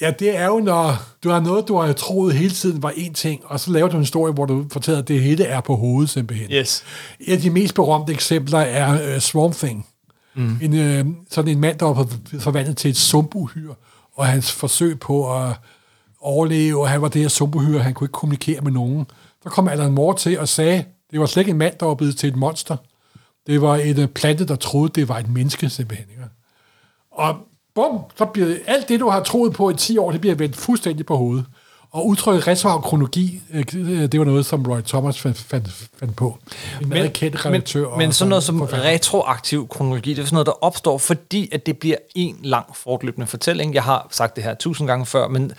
[SPEAKER 2] Ja, det er jo, når du har noget, du har troet hele tiden var en ting, og så laver du en historie, hvor du fortæller, at det hele er på hovedet simpelthen.
[SPEAKER 1] Yes.
[SPEAKER 2] Et af de mest berømte eksempler er uh, Swamp Thing. Mm. En, øh, sådan en mand, der var for- forvandlet til et sumpuhyr, og hans forsøg på at overleve, og han var det her sumpuhyr, han kunne ikke kommunikere med nogen. Så kom Alan Moore til og sagde, det var slet ikke en mand, der var blevet til et monster. Det var en øh, plante, der troede, det var et menneske simpelthen. Ikke? Og bum, så bliver alt det, du har troet på i 10 år, det bliver vendt fuldstændig på hovedet. Og udtrykket retroaktiv kronologi, øh, det var noget, som Roy Thomas fandt, fandt, fandt på. En men, meget kendt redaktør.
[SPEAKER 1] men, men sådan noget som
[SPEAKER 2] forfatter.
[SPEAKER 1] retroaktiv kronologi, det er sådan noget, der opstår, fordi at det bliver en lang fortløbende fortælling. Jeg har sagt det her tusind gange før, men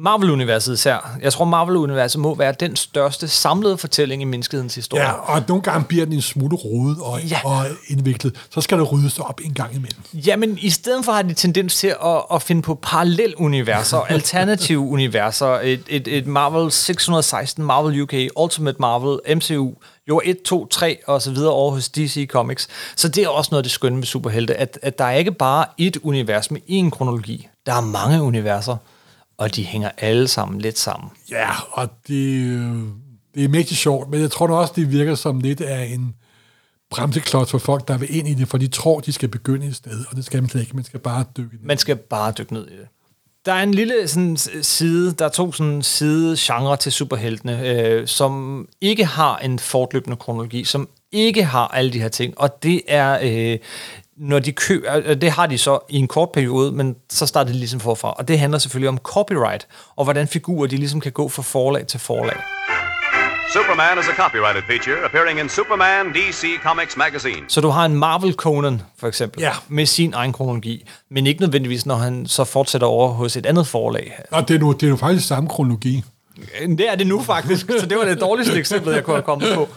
[SPEAKER 1] Marvel-universet især. Jeg tror, Marvel-universet må være den største samlede fortælling i menneskehedens historie.
[SPEAKER 2] Ja, og nogle gange bliver den en smule rodet og,
[SPEAKER 1] Ja.
[SPEAKER 2] ja. og indviklet. Så skal der ryddes op en gang imellem.
[SPEAKER 1] Jamen, i stedet for har de tendens til at, at finde på paralleluniverser, alternative universer, et, et, et Marvel 616, Marvel UK, Ultimate Marvel, MCU, jo 1, 2, 3 og så videre over hos DC Comics. Så det er også noget af det skønne med superhelte, at, at der er ikke bare et univers med én kronologi. Der er mange universer, og de hænger alle sammen lidt sammen.
[SPEAKER 2] Ja, og det, øh, det er mægtig sjovt, men jeg tror da også, det virker som lidt af en bremseklods for folk, der vil ind i det, for de tror, de skal begynde et sted, og det skal man slet ikke. Man skal bare dykke ned.
[SPEAKER 1] Man skal bare dykke ned i det. Der er en lille sådan, s- side, der er to sådan, side genre til superheltene, øh, som ikke har en fortløbende kronologi, som ikke har alle de her ting, og det er, øh, når de køber, øh, det har de så i en kort periode, men så starter de ligesom forfra, og det handler selvfølgelig om copyright, og hvordan figurer de ligesom kan gå fra forlag til forlag.
[SPEAKER 5] Superman is a copyrighted feature appearing in Superman DC Comics magazine.
[SPEAKER 1] Så du har en Marvel Conan, for eksempel,
[SPEAKER 2] Ja.
[SPEAKER 1] med sin egen kronologi, men ikke nødvendigvis, når han så fortsætter over hos et andet forlag.
[SPEAKER 2] Og det er, nu, det er jo faktisk samme kronologi.
[SPEAKER 1] Øh, Det er det nu faktisk, så det var det dårligste eksempel, jeg kunne have kommet på.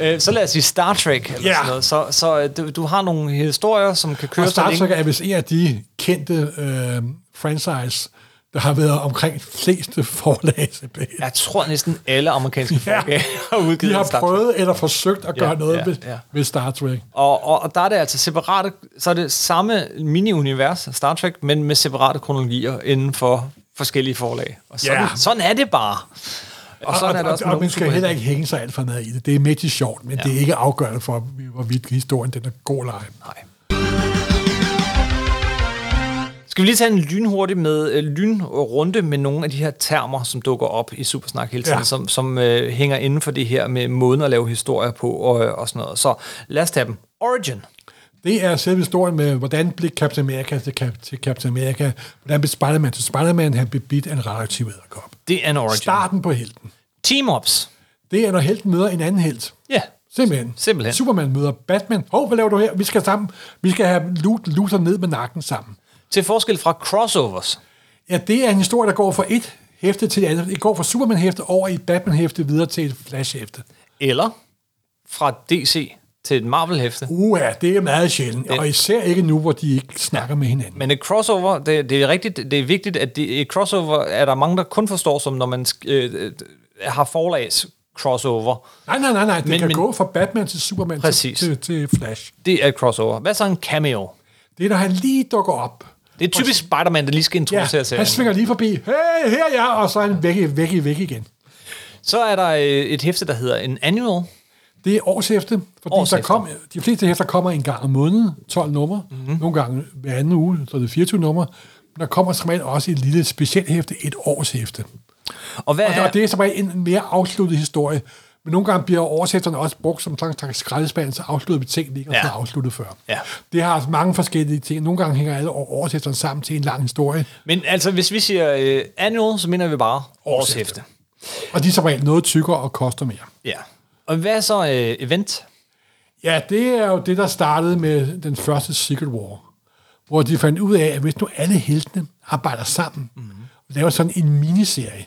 [SPEAKER 1] Øh, Så lad os sige Star Trek eller
[SPEAKER 2] Ja.
[SPEAKER 1] sådan noget. Så, så øh, du, du har nogle historier, som kan køre
[SPEAKER 2] Og Star
[SPEAKER 1] så
[SPEAKER 2] Trek
[SPEAKER 1] længe.
[SPEAKER 2] er vist en af de kendte øh, franchise, der har været omkring fleste forlag. Ja,
[SPEAKER 1] Jeg tror næsten alle amerikanske folk øh, har udgivet
[SPEAKER 2] de
[SPEAKER 1] en
[SPEAKER 2] har
[SPEAKER 1] Star Trek.
[SPEAKER 2] prøvet eller forsøgt at gøre
[SPEAKER 1] Ja,
[SPEAKER 2] noget
[SPEAKER 1] ja,
[SPEAKER 2] ved,
[SPEAKER 1] ja.
[SPEAKER 2] ved Star Trek.
[SPEAKER 1] Og, og, og der er det altså separate, så er det samme mini-univers, Star Trek, men med separate kronologier inden for forskellige forlag. Og sådan,
[SPEAKER 2] Ja.
[SPEAKER 1] sådan er det bare. Og sådan
[SPEAKER 2] og,
[SPEAKER 1] er det også
[SPEAKER 2] og,
[SPEAKER 1] med
[SPEAKER 2] og man
[SPEAKER 1] nogle
[SPEAKER 2] skal heller
[SPEAKER 1] superhelte.
[SPEAKER 2] ikke hænge sig alt for meget i det. Det er midt i sjovt, men ja. det er ikke afgørende for, hvorvidt historien den er god eller ej.
[SPEAKER 1] Nej. Skal vi lige tage en lynhurtig med, øh, lynrunde med nogle af de her termer, som dukker op i Supersnak hele tiden, ja.
[SPEAKER 2] Ja.
[SPEAKER 1] som, som øh, hænger inden for det her med måden at lave historier på og, øh, og sådan noget. Så lad os tage dem. Origin.
[SPEAKER 2] Det er selve historien med, hvordan blev Captain America til, Cap- til Captain America, hvordan blev Spider-Man til Spider-Man, han blev bidt af en radioaktiv edderkop.
[SPEAKER 1] Det er en origin.
[SPEAKER 2] Starten på helten.
[SPEAKER 1] Team-ups.
[SPEAKER 2] Det er, når helten møder en anden helt.
[SPEAKER 1] Ja.
[SPEAKER 2] Simpelthen.
[SPEAKER 1] Simpelthen.
[SPEAKER 2] Superman møder Batman. Hov, hvad laver du her? Vi skal sammen. Vi skal have loot, looter ned med nakken sammen.
[SPEAKER 1] Til forskel fra crossovers.
[SPEAKER 2] Ja, det er en historie, der går fra et hæfte til det andet. Det går fra Superman-hæfte over i et Batman-hæfte videre til et Flash-hæfte.
[SPEAKER 1] Eller fra DC til et Marvel-hæfte.
[SPEAKER 2] Uha, det er meget sjældent. Og især ikke nu, hvor de ikke snakker med hinanden.
[SPEAKER 1] Men et crossover, det, det er rigtigt, det er vigtigt, at det, et crossover er der mange, der kun forstår som, når man sk- øh, øh, har forlags crossover.
[SPEAKER 2] Nej, nej, nej, nej. Det
[SPEAKER 1] Men-
[SPEAKER 2] men, kan
[SPEAKER 1] men-
[SPEAKER 2] men, gå fra Batman til Superman til,
[SPEAKER 1] Præcis.
[SPEAKER 2] til, til Flash.
[SPEAKER 1] Det er et crossover. Hvad så en cameo?
[SPEAKER 2] Det er, når han lige dukker op.
[SPEAKER 1] Det er typisk Spider-Man, der lige skal
[SPEAKER 2] Ja,
[SPEAKER 1] introducere serien.
[SPEAKER 2] han svinger lige forbi. Hey, her er jeg! Og så er han væk, væk, væk igen.
[SPEAKER 1] Så er der øh, et hæfte, der hedder en annual.
[SPEAKER 2] Det er årshæfte, fordi
[SPEAKER 1] Årshæfte.
[SPEAKER 2] der kom, de fleste hæfter kommer en gang om måneden, 12 numre,
[SPEAKER 1] Mhm.
[SPEAKER 2] mm-hmm. nogle gange hver anden uge, så er det 24 numre. Men der kommer som regel også et lille specielt hæfte, et årshæfte.
[SPEAKER 1] Og hvad
[SPEAKER 2] Og,
[SPEAKER 1] er...
[SPEAKER 2] og det er som regel en mere afsluttet historie, men nogle gange bliver årshæfterne også brugt som sådan en slags skraldespand, så afslutter vi ting, vi ikke
[SPEAKER 1] Ja.
[SPEAKER 2] ja. afsluttet før.
[SPEAKER 1] Ja.
[SPEAKER 2] Det har altså mange forskellige ting. Nogle gange hænger alle år- årshæfterne sammen til en lang historie,
[SPEAKER 1] Men altså, hvis vi siger øh, annual, så mener vi bare årshæfte.
[SPEAKER 2] Årshæfte. og de er som regel noget tykkere og koster mere.
[SPEAKER 1] Ja. Og hvad er så øh, event?
[SPEAKER 2] Ja, det er jo det, der startede med den første Secret War, hvor de fandt ud af, at hvis nu alle heltene arbejder sammen, mm-hmm. og laver sådan en miniserie,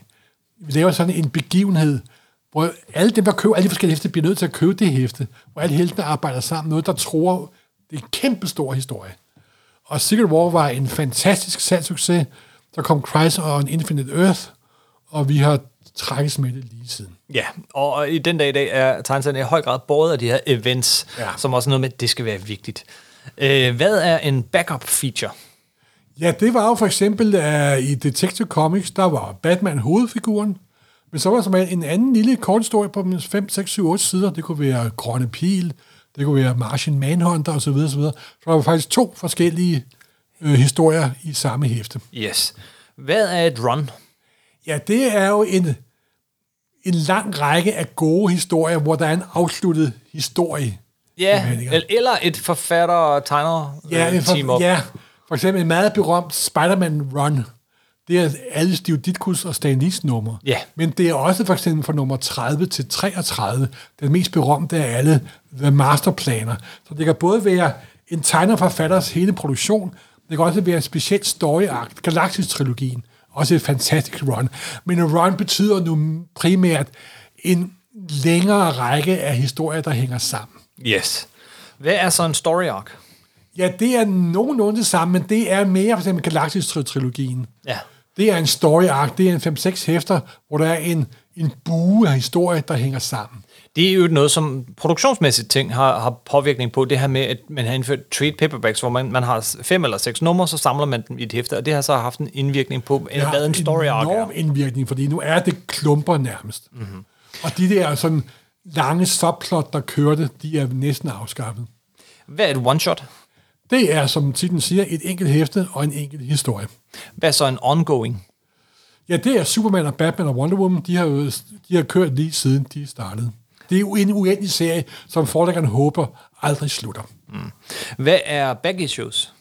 [SPEAKER 2] vi laver sådan en begivenhed, hvor alle dem, der køber alle de forskellige hæfte, bliver nødt til at købe det hæfte, hvor alle heltene arbejder sammen, noget, der tror, det er en kæmpe stor historie. Og Secret War var en fantastisk salgssucces, så kom Christ og en Infinite Earth, og vi har trækkes med det lige siden.
[SPEAKER 1] Ja, og og i den dag i dag er tegneserien i høj grad båret af de her events, ja.
[SPEAKER 2] Ja.
[SPEAKER 1] som også er noget med, at det skal være vigtigt. Øh, hvad er en backup feature?
[SPEAKER 2] Ja, det var jo for eksempel uh, i Detective Comics, der var Batman hovedfiguren, men så var der som regel en anden lille kort historie på 5, 6, 7, 8 sider. Det kunne være Grønne Pil, det kunne være Martian Manhunter osv. osv. Så der var faktisk to forskellige øh, historier i samme hæfte.
[SPEAKER 1] Yes. Hvad er et run?
[SPEAKER 2] Ja, det er jo en, en lang række af gode historier, hvor der er en afsluttet historie.
[SPEAKER 1] Ja,
[SPEAKER 2] Jamen, ikke?
[SPEAKER 1] el- eller et forfatter og tegner
[SPEAKER 2] Ja,
[SPEAKER 1] øh,
[SPEAKER 2] for,
[SPEAKER 1] team op.
[SPEAKER 2] ja, for eksempel en meget berømt Spider-Man Run. Det er alle Steve Ditkus og Stan Lees numre.
[SPEAKER 1] Ja.
[SPEAKER 2] Men det er også for eksempel fra nummer 30 til 33, den mest berømte af alle, The Masterplaner. Så det kan både være en tegner og forfatters hele produktion, det kan også være en speciel story arc, Galactus-trilogien. Også et fantastisk run. Men en run betyder nu primært en længere række af historier, der hænger sammen.
[SPEAKER 1] Yes. Hvad er så en story arc?
[SPEAKER 2] Ja, det er nogenlunde det samme, men det er mere for eksempel Galactus-trilogien.
[SPEAKER 1] Ja.
[SPEAKER 2] Det er en story arc, det er en 5-6 hæfter, hvor der er en, en bue af historie, der hænger sammen.
[SPEAKER 1] Det er jo noget, som produktionsmæssigt ting har, har påvirkning på. Det her med, at man har indført trade paperbacks, hvor man, man har s- fem eller seks numre, så samler man dem i et hæfte, og det har så haft en indvirkning på,
[SPEAKER 2] Det
[SPEAKER 1] ja, hvad en story arc
[SPEAKER 2] enorm
[SPEAKER 1] er. Mhm.
[SPEAKER 2] indvirkning, fordi nu er det klumper nærmest. Mm-hmm. Og de der sådan lange subplot, der kørte, de er næsten afskaffet.
[SPEAKER 1] Hvad er et one-shot?
[SPEAKER 2] Det er, som titlen siger, et enkelt hæfte og en enkelt historie.
[SPEAKER 1] Hvad er så en ongoing?
[SPEAKER 2] Ja, det er Superman og Batman og Wonder Woman, de har, jo- de har kørt lige siden de startede. Det er jo en uendelig serie, som forlæggeren håber aldrig slutter.
[SPEAKER 1] Hvad er back issues?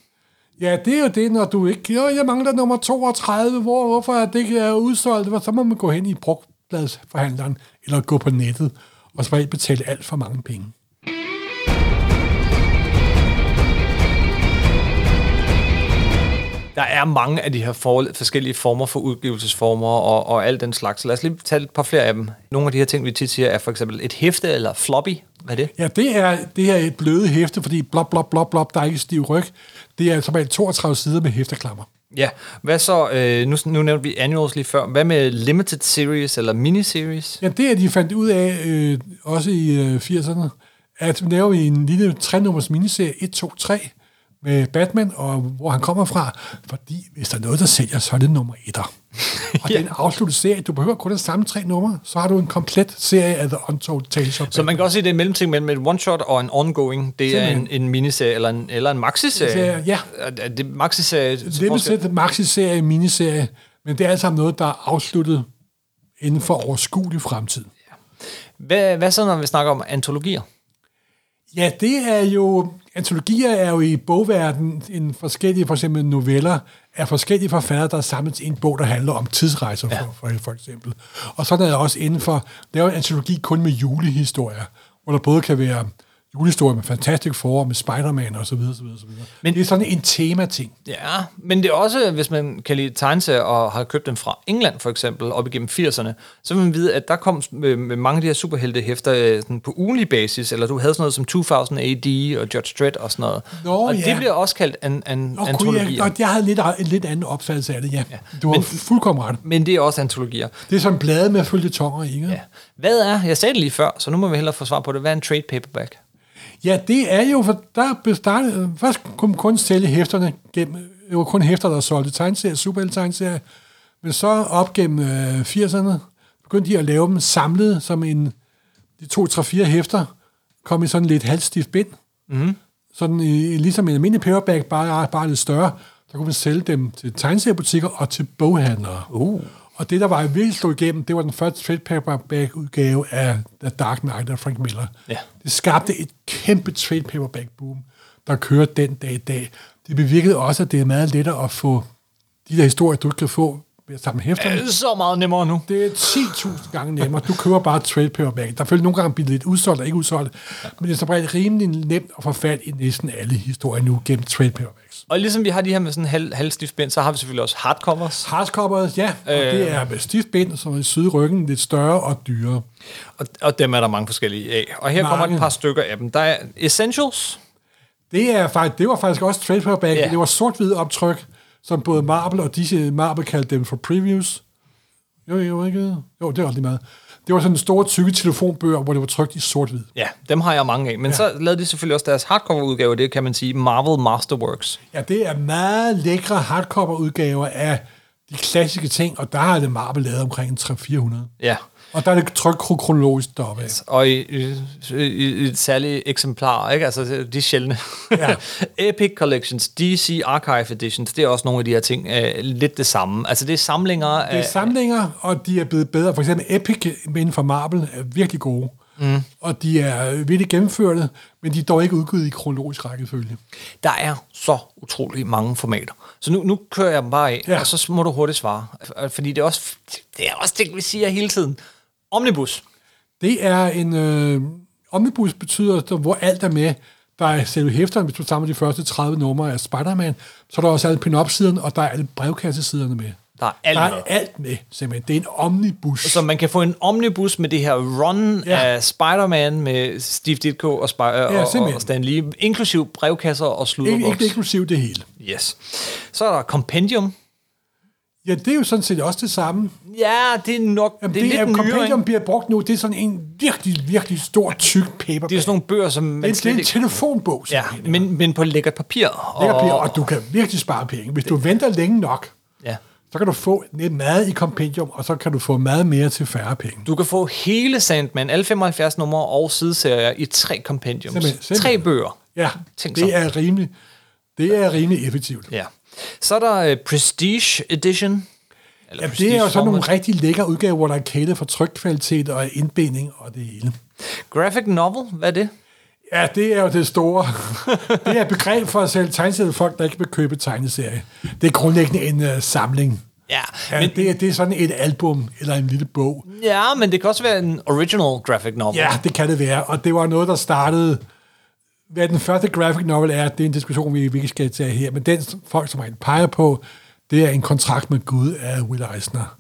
[SPEAKER 2] Ja, det er jo det, når du ikke... Jo, jeg mangler nummer 32, hvor, hvorfor er det ikke er udsolgt? Hvor- Så må man gå hen i brugtbladsforhandleren, eller gå på nettet, og så betale alt for mange penge.
[SPEAKER 1] Der er mange af de her for, forskellige former for udgivelsesformer og, og alt den slags. Lad os lige tage et par flere af dem. Nogle af de her ting, vi tit siger, er for eksempel et hæfte eller floppy. Hvad er det?
[SPEAKER 2] Ja, det er, det er et bløde hæfte, fordi blop, blop, blop, blop, der er ikke stiv ryg. Det er som regel 32 sider med hæfteklammer.
[SPEAKER 1] Ja, hvad så, øh, nu, nu nævnte vi annuals lige før, hvad med limited series eller miniseries?
[SPEAKER 2] Ja, det er de fandt ud af, øh, også i øh, 80'erne, at laver vi en lille trenummers miniserie, 1, 2, 3, med Batman, og hvor han kommer fra, fordi hvis der er noget, der sælger, så er det nummer etter. Og ja. det er en afsluttet serie. Du behøver kun at samle tre numre, så har du en komplet serie af The Untold Tales of
[SPEAKER 1] Så man kan også se, at det er en mellemting mellem et one-shot og en ongoing. Det er en,
[SPEAKER 2] Simpelthen.
[SPEAKER 1] en miniserie eller en, eller en maxiserie.
[SPEAKER 2] Serie, ja.
[SPEAKER 1] Er- er Det maxiserie... til
[SPEAKER 2] Det er
[SPEAKER 1] forskel?
[SPEAKER 2] set maxiserie, miniserie, men det er alt sammen noget, der er afsluttet inden for overskuelig fremtid.
[SPEAKER 1] Hvad, hvad så, når vi snakker om antologier?
[SPEAKER 2] Ja, det er jo... Antologier er jo i bogverdenen en forskellige, for eksempel noveller, af forskellige forfattere, der er samlet i en bog, der handler om tidsrejser, ja. for, for, for eksempel. Og sådan er det også inden for... Der er jo en antologi kun med julehistorier, hvor der både kan være julehistorier med Fantastic Four, med Spider-Man osv. osv., osv.
[SPEAKER 1] Men-
[SPEAKER 2] Men, det er sådan en temating.
[SPEAKER 1] Ja, men det er også, hvis man kan lide tegneserier og har købt dem fra England for eksempel, op igennem 80'erne, så vil man vide, at der kom med, med mange af de her superheltehæfter øh, sådan på ugenlig basis, eller du havde sådan noget som 2000 AD og Judge Dredd og sådan noget.
[SPEAKER 2] Nå,
[SPEAKER 1] og det
[SPEAKER 2] ja.
[SPEAKER 1] bliver også kaldt an, an,
[SPEAKER 2] Og, kunne jeg,
[SPEAKER 1] antologier.
[SPEAKER 2] og jeg havde lidt, en lidt anden opfattelse af det, ja. ja. Du har
[SPEAKER 1] men-
[SPEAKER 2] fuldkommen ret.
[SPEAKER 1] Men det er også antologier.
[SPEAKER 2] Det er som blade med følgetonger, ikke?
[SPEAKER 1] Ja. Hvad er, jeg sagde det lige før, så nu må vi hellere få svar på det, hvad er en trade paperback?
[SPEAKER 2] Ja, det er jo, for der blev startet, først kunne man kun sælge hæfterne gennem, det var kun hæfter, der solgte tegneserier, superhelte-tegneserier, men så op gennem øh, 80'erne begyndte de at lave dem samlet som en, de to, tre, fire hæfter, kom i sådan lidt halvstift bind, mm. sådan i, ligesom en almindelig paperback, bare, bare lidt større, der kunne man sælge dem til tegneseriebutikker og til boghandlere. Uh. Og det, der var virkelig slået igennem, det var den første trade paperback-udgave af The Dark Knight af Frank Miller.
[SPEAKER 1] Ja.
[SPEAKER 2] Det skabte et kæmpe trade paperback boom, der kører den dag i dag. Det bevirkede også, at det er meget lettere at få de der historier, du ikke kan få ved at samle hæfterne.
[SPEAKER 1] Det er så meget nemmere nu.
[SPEAKER 2] Det er 10.000 gange nemmere. Du køber bare trade paperback. Der følger nogle gange bliver lidt udsolgt og ikke udsolgt, men det er som regel rimelig nemt at få fat i næsten alle historier nu gennem trade paperbacks.
[SPEAKER 1] Og ligesom vi har de her med sådan halv, halvstiftbind, så har vi selvfølgelig også hardcovers.
[SPEAKER 2] Hardcovers, ja, og det er med stift bind, som er i sydryggen, lidt større og dyrere.
[SPEAKER 1] Og, og dem er der mange forskellige af. Og her kommer
[SPEAKER 2] Mange.
[SPEAKER 1] et par stykker af dem. Der er Essentials.
[SPEAKER 2] Det, er faktisk, det var faktisk også trade paperback,
[SPEAKER 1] Ja.
[SPEAKER 2] yeah. det var sort-hvid optryk, som både Marvel og DC Marvel kaldte dem for previews. Jo, jo, ikke? Jo, det var lige meget. Det var sådan en stor tykke telefonbøger, hvor det var trykt i sort-hvid.
[SPEAKER 1] Ja, dem har jeg mange af. Men ja. så lavede de selvfølgelig også deres hardcover-udgave, det kan man sige Marvel Masterworks.
[SPEAKER 2] Ja, det er meget lækre hardcover-udgaver af de klassiske ting, og der har det Marvel lavet omkring en 300-400.
[SPEAKER 1] Ja.
[SPEAKER 2] Og der er det tryk kronologisk deroppe. Yes.
[SPEAKER 1] Og i, i, i, i et særligt eksemplar, ikke? Altså, de er sjældne. Ja.
[SPEAKER 2] Ja.
[SPEAKER 1] Epic Collections, DC Archive Editions, det er også nogle af de her ting. Øh, lidt det samme. Altså, det er samlinger
[SPEAKER 2] Det er
[SPEAKER 1] af...
[SPEAKER 2] Øh, samlinger, og de er blevet bedre. For eksempel Epic inden for Marvel er virkelig gode. Mm. Og de er virkelig gennemførte, men de er dog ikke udgivet i kronologisk rækkefølge.
[SPEAKER 1] Der er så utrolig mange formater. Så nu, nu kører jeg dem bare af, ja.
[SPEAKER 2] Ja.
[SPEAKER 1] og så må du hurtigt svare. Fordi det er også det, er også det vi siger hele tiden. Omnibus.
[SPEAKER 2] Det er en... Øh, omnibus betyder, der- hvor alt er med. Der er selve hæfteren, hvis du samler de første 30 numre af Spider-Man. Så er der også alle pin-up-siderne, og der er alle brevkassesiderne med.
[SPEAKER 1] Der er alt
[SPEAKER 2] der
[SPEAKER 1] med.
[SPEAKER 2] er alt med, simpelthen. Det er en omnibus.
[SPEAKER 1] Så man kan få en omnibus med det her run ja.
[SPEAKER 2] Ja.
[SPEAKER 1] af Spider-Man med Steve Ditko og, Spi- ja, og,
[SPEAKER 2] simpelthen.
[SPEAKER 1] og Stan Lee, inklusiv brevkasser og
[SPEAKER 2] ikke,
[SPEAKER 1] sludderboks.
[SPEAKER 2] ikke inklusiv det hele.
[SPEAKER 1] Yes. Så er der Compendium.
[SPEAKER 2] Ja, det er jo sådan set også det samme.
[SPEAKER 1] Ja, det er nok...
[SPEAKER 2] Jamen,
[SPEAKER 1] det er, det er lidt nyere,
[SPEAKER 2] Compendium
[SPEAKER 1] ikke?
[SPEAKER 2] bliver brugt nu, det er sådan en virkelig, virkelig stor, tyk paper.
[SPEAKER 1] Det er sådan nogle bøger, som
[SPEAKER 2] det,
[SPEAKER 1] man
[SPEAKER 2] er- det er en telefonbog,
[SPEAKER 1] Ja,
[SPEAKER 2] simpelthen.
[SPEAKER 1] men, men på lækkert papir. Og,
[SPEAKER 2] Lækker papir, og du kan virkelig spare penge. Hvis du venter længe nok,
[SPEAKER 1] Ja.
[SPEAKER 2] så kan du få lidt meget i kompendium, og så kan du få meget mere til færre penge.
[SPEAKER 1] Du kan få hele Sandman, alle 75 numre og sideserier i tre compendiums.
[SPEAKER 2] Simpelthen,
[SPEAKER 1] Tre
[SPEAKER 2] simpelthen.
[SPEAKER 1] bøger.
[SPEAKER 2] Ja,
[SPEAKER 1] Tænk så.
[SPEAKER 2] det er rimelig, det er rimelig effektivt.
[SPEAKER 1] Ja. Så er der uh, Prestige Edition. Eller
[SPEAKER 2] Ja, det er jo sådan nogle
[SPEAKER 1] Prestige-format.
[SPEAKER 2] rigtig lækre udgaver, hvor der er kæde for trykkvalitet og indbinding og det hele.
[SPEAKER 1] Graphic Novel, hvad er det?
[SPEAKER 2] Ja, det er jo det store. det er et begreb for at sælge tegneserier til folk, der ikke vil købe tegneserie. Det er grundlæggende en uh, samling.
[SPEAKER 1] Ja,
[SPEAKER 2] Ja,
[SPEAKER 1] men-
[SPEAKER 2] men, det, er, det er sådan et album eller en lille bog.
[SPEAKER 1] Ja, men det kan også være en original graphic novel.
[SPEAKER 2] Ja, det kan det være. Og det var noget, der startede... Hvad den første graphic novel er, det er en diskussion, vi vi ikke skal tage her. Men den som folk, som han peger på, det er en kontrakt med Gud af Will Eisner.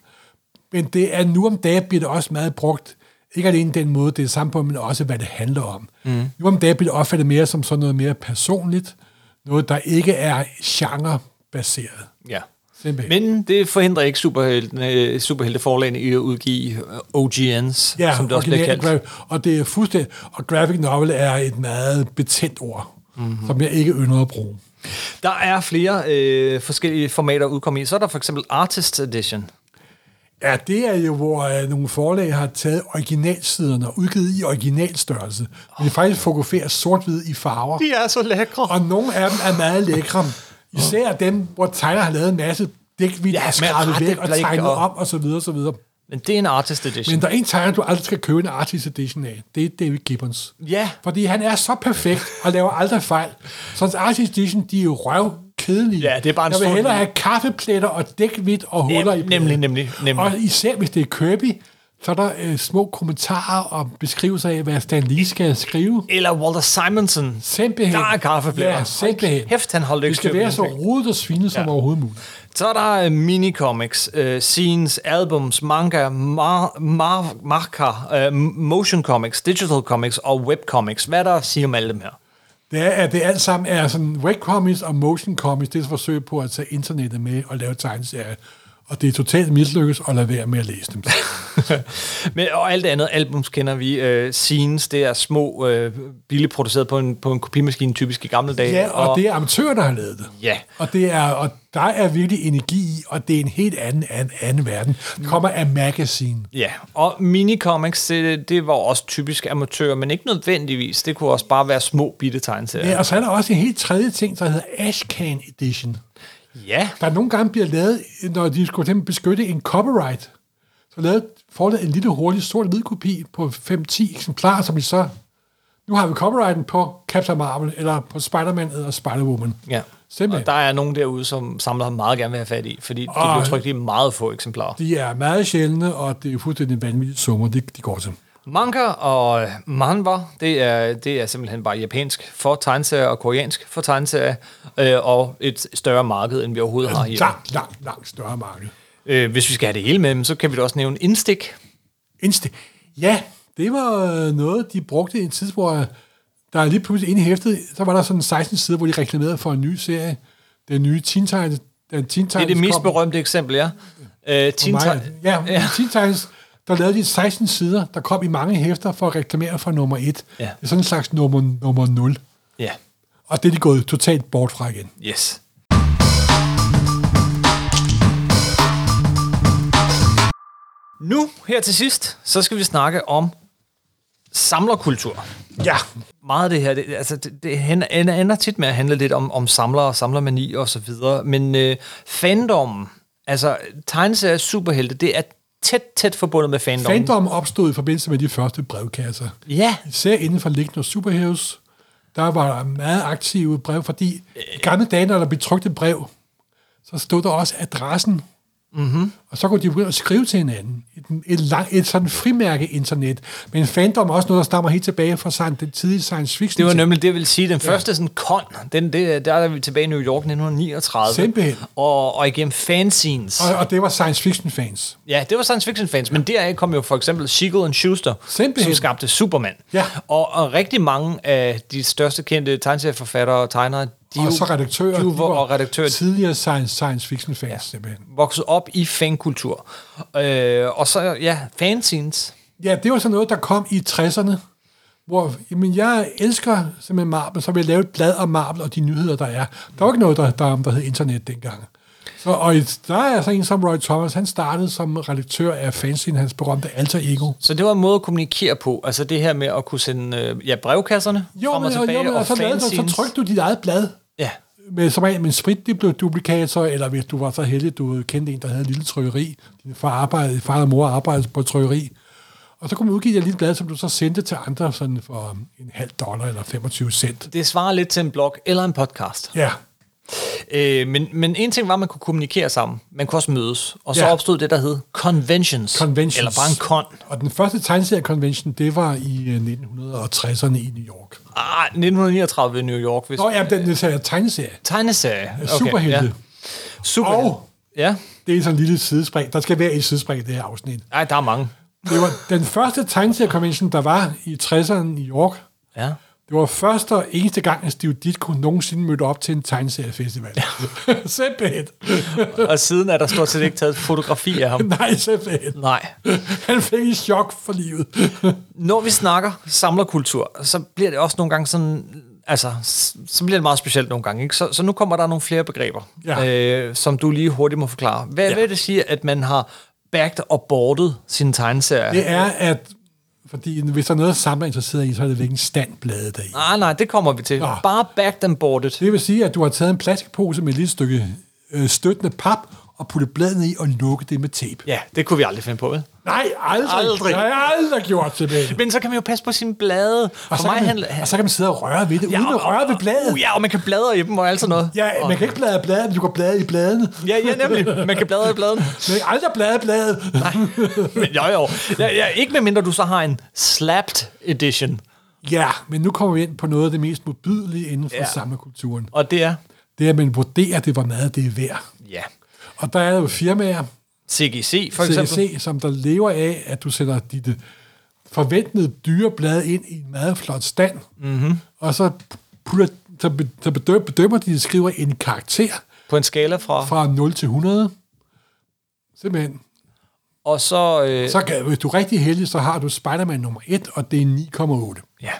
[SPEAKER 2] Men det er nu om dagen bliver det også meget brugt. Ikke alene den måde, det er sammen på, men også hvad det handler om. Mm. Nu om dagen bliver det opfattet mere som sådan noget mere personligt. Noget, der ikke er genrebaseret.
[SPEAKER 1] ja.
[SPEAKER 2] Simpelthen.
[SPEAKER 1] Men det forhindrer ikke superhelte, superhelteforlagene i at udgive øh, OGN's, ja, som det også bliver
[SPEAKER 2] original
[SPEAKER 1] kaldt.
[SPEAKER 2] gra- og det er
[SPEAKER 1] Mhm.
[SPEAKER 2] fuldstændig... Og graphic novel er et meget betændt ord, mm-hmm. som jeg ikke ynder at bruge.
[SPEAKER 1] Der er flere øh, forskellige formater at udkomme i. Så er der for eksempel Artist Edition.
[SPEAKER 2] Ja, det er jo, hvor øh, nogle forlag har taget originalsiderne og udgivet i originalstørrelse. Men det faktisk fokuserer sort-hvid i farver.
[SPEAKER 1] De er så lækre.
[SPEAKER 2] Og nogle af dem er meget lækre. Især dem, hvor tegner har lavet en masse dækvidt
[SPEAKER 1] Ja,
[SPEAKER 2] ja,
[SPEAKER 1] med
[SPEAKER 2] og skrabet væk og
[SPEAKER 1] retteblik
[SPEAKER 2] tegnet
[SPEAKER 1] og-
[SPEAKER 2] om og så videre, så videre.
[SPEAKER 1] Men det er en Artist Edition.
[SPEAKER 2] Men der er en tegner, du aldrig skal købe en artist edition af. Det er David Gibbons.
[SPEAKER 1] Ja.
[SPEAKER 2] Fordi han er så perfekt og laver aldrig fejl. Så hans artist edition, de er jo røv kedelige.
[SPEAKER 1] Ja, det er bare en
[SPEAKER 2] Jeg
[SPEAKER 1] stor-
[SPEAKER 2] vil hellere have kaffepletter og dækvidt og huller i
[SPEAKER 1] nemlig,
[SPEAKER 2] bladet.
[SPEAKER 1] nemlig, nemlig.
[SPEAKER 2] Og især hvis det er Kirby, så er der øh, små kommentarer og beskrivelser af, hvad Stan Lee skal skrive.
[SPEAKER 1] Eller Walter Simonson.
[SPEAKER 2] Simpelthen.
[SPEAKER 1] Der er kaffeblæder.
[SPEAKER 2] Ja, simpelthen.
[SPEAKER 1] Hæft, han holdt
[SPEAKER 2] Det
[SPEAKER 1] ikke styr
[SPEAKER 2] skal
[SPEAKER 1] på
[SPEAKER 2] være
[SPEAKER 1] den
[SPEAKER 2] så
[SPEAKER 1] ting.
[SPEAKER 2] rodet og svinet som
[SPEAKER 1] Ja.
[SPEAKER 2] overhovedet muligt.
[SPEAKER 1] Så er der øh, minicomics, øh, scenes, albums, manga, mar- mar- marker, øh, motion comics, digital comics og webcomics. Hvad er der at sige om alle dem her?
[SPEAKER 2] Det er, at det alt sammen er sådan, webcomics og motion comics, det er et forsøg på at tage internettet med og lave tegneserier. Og det er totalt mislykkes at lade være med at læse dem.
[SPEAKER 1] Men, og alt det andet, albums kender vi. Øh, scenes, det er små, øh, billigt produceret på en, på en kopimaskine, typisk i gamle dage.
[SPEAKER 2] ja, og det er amatører, der har lavet det.
[SPEAKER 1] Øh, Ja.
[SPEAKER 2] Og, det er, og der er virkelig energi i, og det er en helt anden, anden, anden verden. Det kommer af magazine.
[SPEAKER 1] Ja, og minicomics, det, det var også typisk amatører, men ikke nødvendigvis. Det kunne også bare være små bitte tegneserier.
[SPEAKER 2] Ja, og så er der også en helt tredje ting, der hedder Ashcan Edition.
[SPEAKER 1] Ja,
[SPEAKER 2] Der nogle gange bliver lavet, når de skulle til at beskytte en copyright, så lavede forlaget en lille hurtig sort-hvid kopi på 5-10 eksemplarer, som de så... Nu har vi copyrighten på Captain Marvel, eller på Spider-Man, eller Spider-Woman.
[SPEAKER 1] ja.
[SPEAKER 2] Simpelthen.
[SPEAKER 1] Og der er nogen derude, som samler meget gerne vil have fat i, fordi de
[SPEAKER 2] Og-
[SPEAKER 1] blev trykt i meget få eksemplarer.
[SPEAKER 2] De er meget sjældne, og det er fuldstændig vanvittige summer, de, de går til.
[SPEAKER 1] Manga og øh, manhwa, det er, det er simpelthen bare japansk for tegneserier og koreansk for tegneserier, øh, og et større marked, end vi overhovedet har her.
[SPEAKER 2] Langt, langt, langt større marked.
[SPEAKER 1] Øh, hvis vi skal have det hele med dem, så kan vi da også nævne Instik.
[SPEAKER 2] Insta. Ja, det var øh, noget, de brugte i en tid, hvor øh, der lige pludselig indhæftet, så var der sådan 16 sider, hvor de reklamerede for en ny serie. Den nye Teen Titans. Den Teen Titans
[SPEAKER 1] Det er det mest
[SPEAKER 2] kom-
[SPEAKER 1] berømte eksempel, ja. Øh, Teen
[SPEAKER 2] For mig-
[SPEAKER 1] Ti-
[SPEAKER 2] Ja,
[SPEAKER 1] ja.
[SPEAKER 2] ja. Teen Titans, der lavede de 16 sider, der kom i mange hæfter for at reklamere for nummer 1.
[SPEAKER 1] Ja.
[SPEAKER 2] Det er sådan en slags nummer, nummer 0.
[SPEAKER 1] ja,
[SPEAKER 2] Og det er de gået totalt bort fra igen.
[SPEAKER 1] yes. Nu, her til sidst, så skal vi snakke om samlerkultur.
[SPEAKER 2] Ja.
[SPEAKER 1] meget af det her, det, altså det, det hen- ender ender tit med at handle lidt om, om samlere og samlermani og så videre, men øh, fandommen, altså tegneserier superhelte, det er tæt, tæt forbundet med fandommen.
[SPEAKER 2] Fandom opstod i forbindelse med de første brevkasser.
[SPEAKER 1] Ja,
[SPEAKER 2] Især inden for Legend of Superheroes, der var der meget aktive brev, fordi i gamle dage, når der blev trykt et brev, så stod der også adressen. Mm-hmm. Og så kunne de begynde at skrive til hinanden. Et, et, lang, et sådan frimærke-internet. Men fandom er også noget, der stammer helt tilbage fra science, den tidlige science fiction.
[SPEAKER 1] det var nemlig det, jeg ville sige. Den første sådan kon, den, det, der er vi tilbage i New York 1939.
[SPEAKER 2] Simpelthen.
[SPEAKER 1] Og, og igennem fanscenes.
[SPEAKER 2] Og, og det var science fiction fans.
[SPEAKER 1] Ja, det var science fiction fans, men deraf kom jo for eksempel Siegel and Schuster,
[SPEAKER 2] Simpelthen.
[SPEAKER 1] som skabte Superman.
[SPEAKER 2] Ja.
[SPEAKER 1] Og, og rigtig mange af de største kendte tegneserieforfattere og tegnere, de er
[SPEAKER 2] og
[SPEAKER 1] jo-
[SPEAKER 2] så redaktører.
[SPEAKER 1] de
[SPEAKER 2] de
[SPEAKER 1] var, og redaktører,
[SPEAKER 2] Tidligere science, science fiction fans, ja. simpelthen.
[SPEAKER 1] vokset op i fankultur. Øh, og så, ja, fanzines.
[SPEAKER 2] Ja, det var sådan noget, der kom i 60'erne, hvor jamen, jeg elsker simpelthen Marvel, så vil jeg lave et blad om Marvel og de nyheder, der er. Der var ikke noget, der, der, der hed internet dengang. Så, og et- der er så en som Roy Thomas, han startede som redaktør af fanzine, hans berømte alter ego.
[SPEAKER 1] Så det var en måde at kommunikere på. Altså det her med at kunne sende øh, ja, brevkasserne
[SPEAKER 2] Jo,
[SPEAKER 1] frem og
[SPEAKER 2] men, og,
[SPEAKER 1] tilbage,
[SPEAKER 2] jo, men, altså, og så, lavede, du- så
[SPEAKER 1] fanzines.
[SPEAKER 2] trykte du dit eget blad,
[SPEAKER 1] Ja.
[SPEAKER 2] med, som regel med en sprit, det blev duplikator, eller hvis du var så heldig, du kendte en, der havde en lille trykkeri, din far, arbejdede, far og mor arbejdede på et trykkeri, og så kunne man udgive et lille blad, som du så sendte til andre sådan for um, en halv dollar eller 25 cent.
[SPEAKER 1] Det svarer lidt til en blog eller en podcast.
[SPEAKER 2] Ja,
[SPEAKER 1] Øh, men, men en ting var, at man kunne kommunikere sammen. Man kunne også mødes. Og så
[SPEAKER 2] Ja.
[SPEAKER 1] opstod det, der hed conventions.
[SPEAKER 2] conventions.
[SPEAKER 1] Eller bare en con.
[SPEAKER 2] Og den første tegneserie-convention, det var i øh, 1960'erne i New York.
[SPEAKER 1] Ah, 1939 i New York. Hvis
[SPEAKER 2] Nå ja, den det er tegneserie.
[SPEAKER 1] Tegneserie.
[SPEAKER 2] Okay, Superhelte.
[SPEAKER 1] Ja.
[SPEAKER 2] Ja.
[SPEAKER 1] Superhelte.
[SPEAKER 2] Og-
[SPEAKER 1] Ja.
[SPEAKER 2] Det er sådan en lille sidespring. Der skal være et sidespring i det her afsnit.
[SPEAKER 1] Ej, der er mange.
[SPEAKER 2] Det var den første tegneserie-convention, der var i 60'erne i New York.
[SPEAKER 1] Ja.
[SPEAKER 2] Det var første og eneste gang, at Steve Ditko nogensinde mødte op til en tegneseriefestival. simpelthen. Øh.
[SPEAKER 1] Og siden er der stort set ikke taget fotografi af ham.
[SPEAKER 2] Nej, simpelthen.
[SPEAKER 1] Nej.
[SPEAKER 2] Han fik et chok for livet.
[SPEAKER 1] Når vi snakker samlerkultur, så bliver det også nogle gange sådan altså, s- så bliver det meget specielt nogle gange. Ikke? Så, så nu kommer der nogle flere begreber,
[SPEAKER 2] Ja.
[SPEAKER 1] øh, som du lige hurtigt må forklare. Hvad
[SPEAKER 2] Ja.
[SPEAKER 1] ja. vil det sige, at man har backed og bordet sin tegneserie?
[SPEAKER 2] Det er, at fordi hvis der er noget, Samba er interesseret i, så er det hvilken stand bladet er i.
[SPEAKER 1] Nej, Ah, nej, det kommer vi til.
[SPEAKER 2] Nå.
[SPEAKER 1] Bare backed and boarded.
[SPEAKER 2] Det vil sige, at du har taget en plastikpose med et lille stykke øh, støttende pap og puttet bladene i og lukket det med tape.
[SPEAKER 1] Ja, det kunne vi aldrig finde på, vel?
[SPEAKER 2] Nej, aldrig.
[SPEAKER 1] Aldrig.
[SPEAKER 2] Jeg har aldrig gjort til det.
[SPEAKER 1] Men så kan man jo passe på sine blade.
[SPEAKER 2] Og
[SPEAKER 1] For
[SPEAKER 2] så,
[SPEAKER 1] mig
[SPEAKER 2] kan
[SPEAKER 1] handler...
[SPEAKER 2] man, og så kan man sidde og røre ved det, ja, uden at røre ved bladet.
[SPEAKER 1] Uh, ja, og man kan bladre i dem og alt sådan noget.
[SPEAKER 2] Ja, man kan ikke bladre i bladet, men du kan bladre i bladene.
[SPEAKER 1] Ja, ja, nemlig. Man kan bladre i bladen.
[SPEAKER 2] Man kan aldrig bladre i bladet. Nej.
[SPEAKER 1] Men jo, jo. Ja, ja, ikke medmindre du så har en slapped edition.
[SPEAKER 2] Ja, men nu kommer vi ind på noget af det mest modbydelige inden for ja.
[SPEAKER 1] Ja.
[SPEAKER 2] samlerkulturen.
[SPEAKER 1] Og det er...
[SPEAKER 2] Det er, at man vurderer det, hvor meget det er værd.
[SPEAKER 1] Ja.
[SPEAKER 2] Og der er jo firmaer,
[SPEAKER 1] CGC, for eksempel.
[SPEAKER 2] CSC, som der lever af, at du sætter dit øh, forventede dyreblad ind i en meget flot stand,
[SPEAKER 1] Mhm.
[SPEAKER 2] mm-hmm. og så, putter, så, be- så bedømmer, bedømmer de, skriver en karakter
[SPEAKER 1] På en skala fra...
[SPEAKER 2] fra 0 til 100. Simpelthen.
[SPEAKER 1] Og så... Øh,
[SPEAKER 2] Så kan, hvis du er rigtig heldig, så har du Spider-Man nummer 1, og det er 9,8.
[SPEAKER 1] Ja.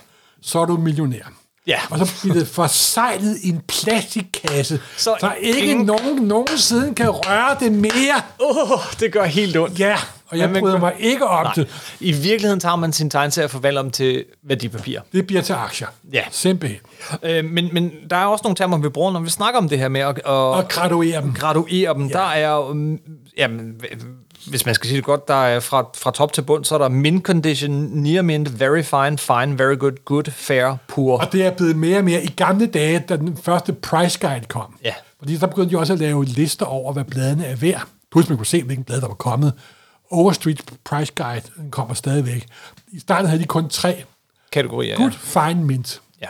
[SPEAKER 2] Så er du millionær.
[SPEAKER 1] Ja.
[SPEAKER 2] Og så bliver det forsejlet i en plastikkasse, så,
[SPEAKER 1] Så
[SPEAKER 2] så ikke
[SPEAKER 1] ingen-
[SPEAKER 2] nogen nogensinde kan røre det mere.
[SPEAKER 1] Åh, oh, det gør helt ondt.
[SPEAKER 2] Ja, og jeg
[SPEAKER 1] Jamen,
[SPEAKER 2] bryder
[SPEAKER 1] gør-
[SPEAKER 2] mig ikke om
[SPEAKER 1] Nej.
[SPEAKER 2] det.
[SPEAKER 1] I virkeligheden tager man sin tegneserie og forvandler dem til værdipapir.
[SPEAKER 2] Det bliver til aktier.
[SPEAKER 1] Ja.
[SPEAKER 2] Simpelthen.
[SPEAKER 1] Øh, men, men der er også nogle termer, vi bruger, når vi snakker om det her med at, at
[SPEAKER 2] Og graduere dem.
[SPEAKER 1] graduere dem. Ja. Der er jo, mm, jamen, hv- hvis man skal sige det godt, der er fra, fra top til bund, så er der min condition, near mint, very fine, fine, very good, good, fair, poor.
[SPEAKER 2] Og det er blevet mere og mere i gamle dage, da den første price guide kom.
[SPEAKER 1] Ja.
[SPEAKER 2] Fordi der begyndte de også at lave lister over, hvad bladene er værd. Plus man kunne se, hvilken blad der var kommet. Overstreet Price Guide den kommer stadigvæk. I starten havde de kun tre.
[SPEAKER 1] Kategorier,
[SPEAKER 2] Good, fine, mint.
[SPEAKER 1] ja.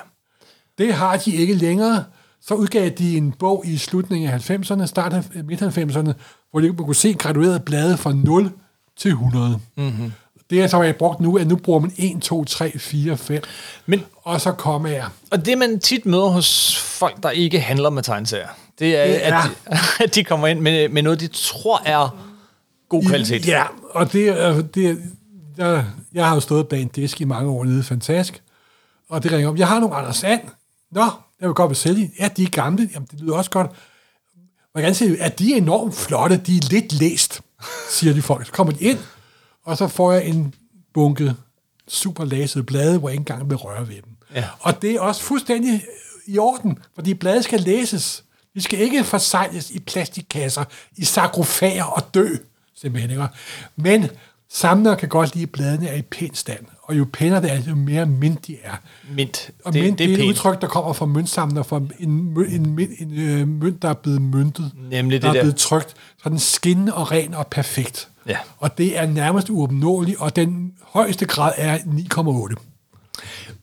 [SPEAKER 2] Det har de ikke længere. Så udgav de en bog i slutningen af 90'erne, start af midt-90'erne, hvor de man kunne se graduerede blade fra 0 til 100. Mm-hmm. Det er så, hvad jeg brugt nu, at nu bruger man 1, 2, 3, 4, 5.
[SPEAKER 1] Men-
[SPEAKER 2] og så kommer jeg.
[SPEAKER 1] Og det, man tit møder hos folk, der ikke handler med tegneserier, det er,
[SPEAKER 2] Det
[SPEAKER 1] det
[SPEAKER 2] er-
[SPEAKER 1] er. At, de, at de kommer ind med, med noget, de tror er god kvalitet.
[SPEAKER 2] Ja, og det, er- det er- jeg, jeg har jo stået bag en disk i mange år nede, fantastisk. Og det ringer om, jeg har nogle Anders Sand. Nå, jeg vil godt besætte Ja, de er gamle. Jamen, det lyder også godt. Hvordan siger de, at de er enormt flotte, de er lidt læst, siger de folk. Så kommer de ind, og så får jeg en bunke super læsede blade, hvor jeg ikke engang vil røre ved dem.
[SPEAKER 1] Ja.
[SPEAKER 2] Og det er også fuldstændig i orden, fordi blade skal læses. De skal ikke forsejles i plastikkasser, i sakrofager og dø, simpelthen. Ikke? Men samlere kan godt lide, at bladene er i pæn stand, og jo pænere det er, jo mere mint de er.
[SPEAKER 1] Mint.
[SPEAKER 2] Og det, mint, det, er et
[SPEAKER 1] pænt.
[SPEAKER 2] udtryk, der kommer fra møntsamler, fra en, mø- en, mø- en, øh, mønt, der er blevet myntet.
[SPEAKER 1] Nemlig det
[SPEAKER 2] der. er
[SPEAKER 1] der.
[SPEAKER 2] blevet trykt. Så den skinnende og ren og perfekt.
[SPEAKER 1] Ja.
[SPEAKER 2] Og det er nærmest uopnåeligt, og den højeste grad er 9,8.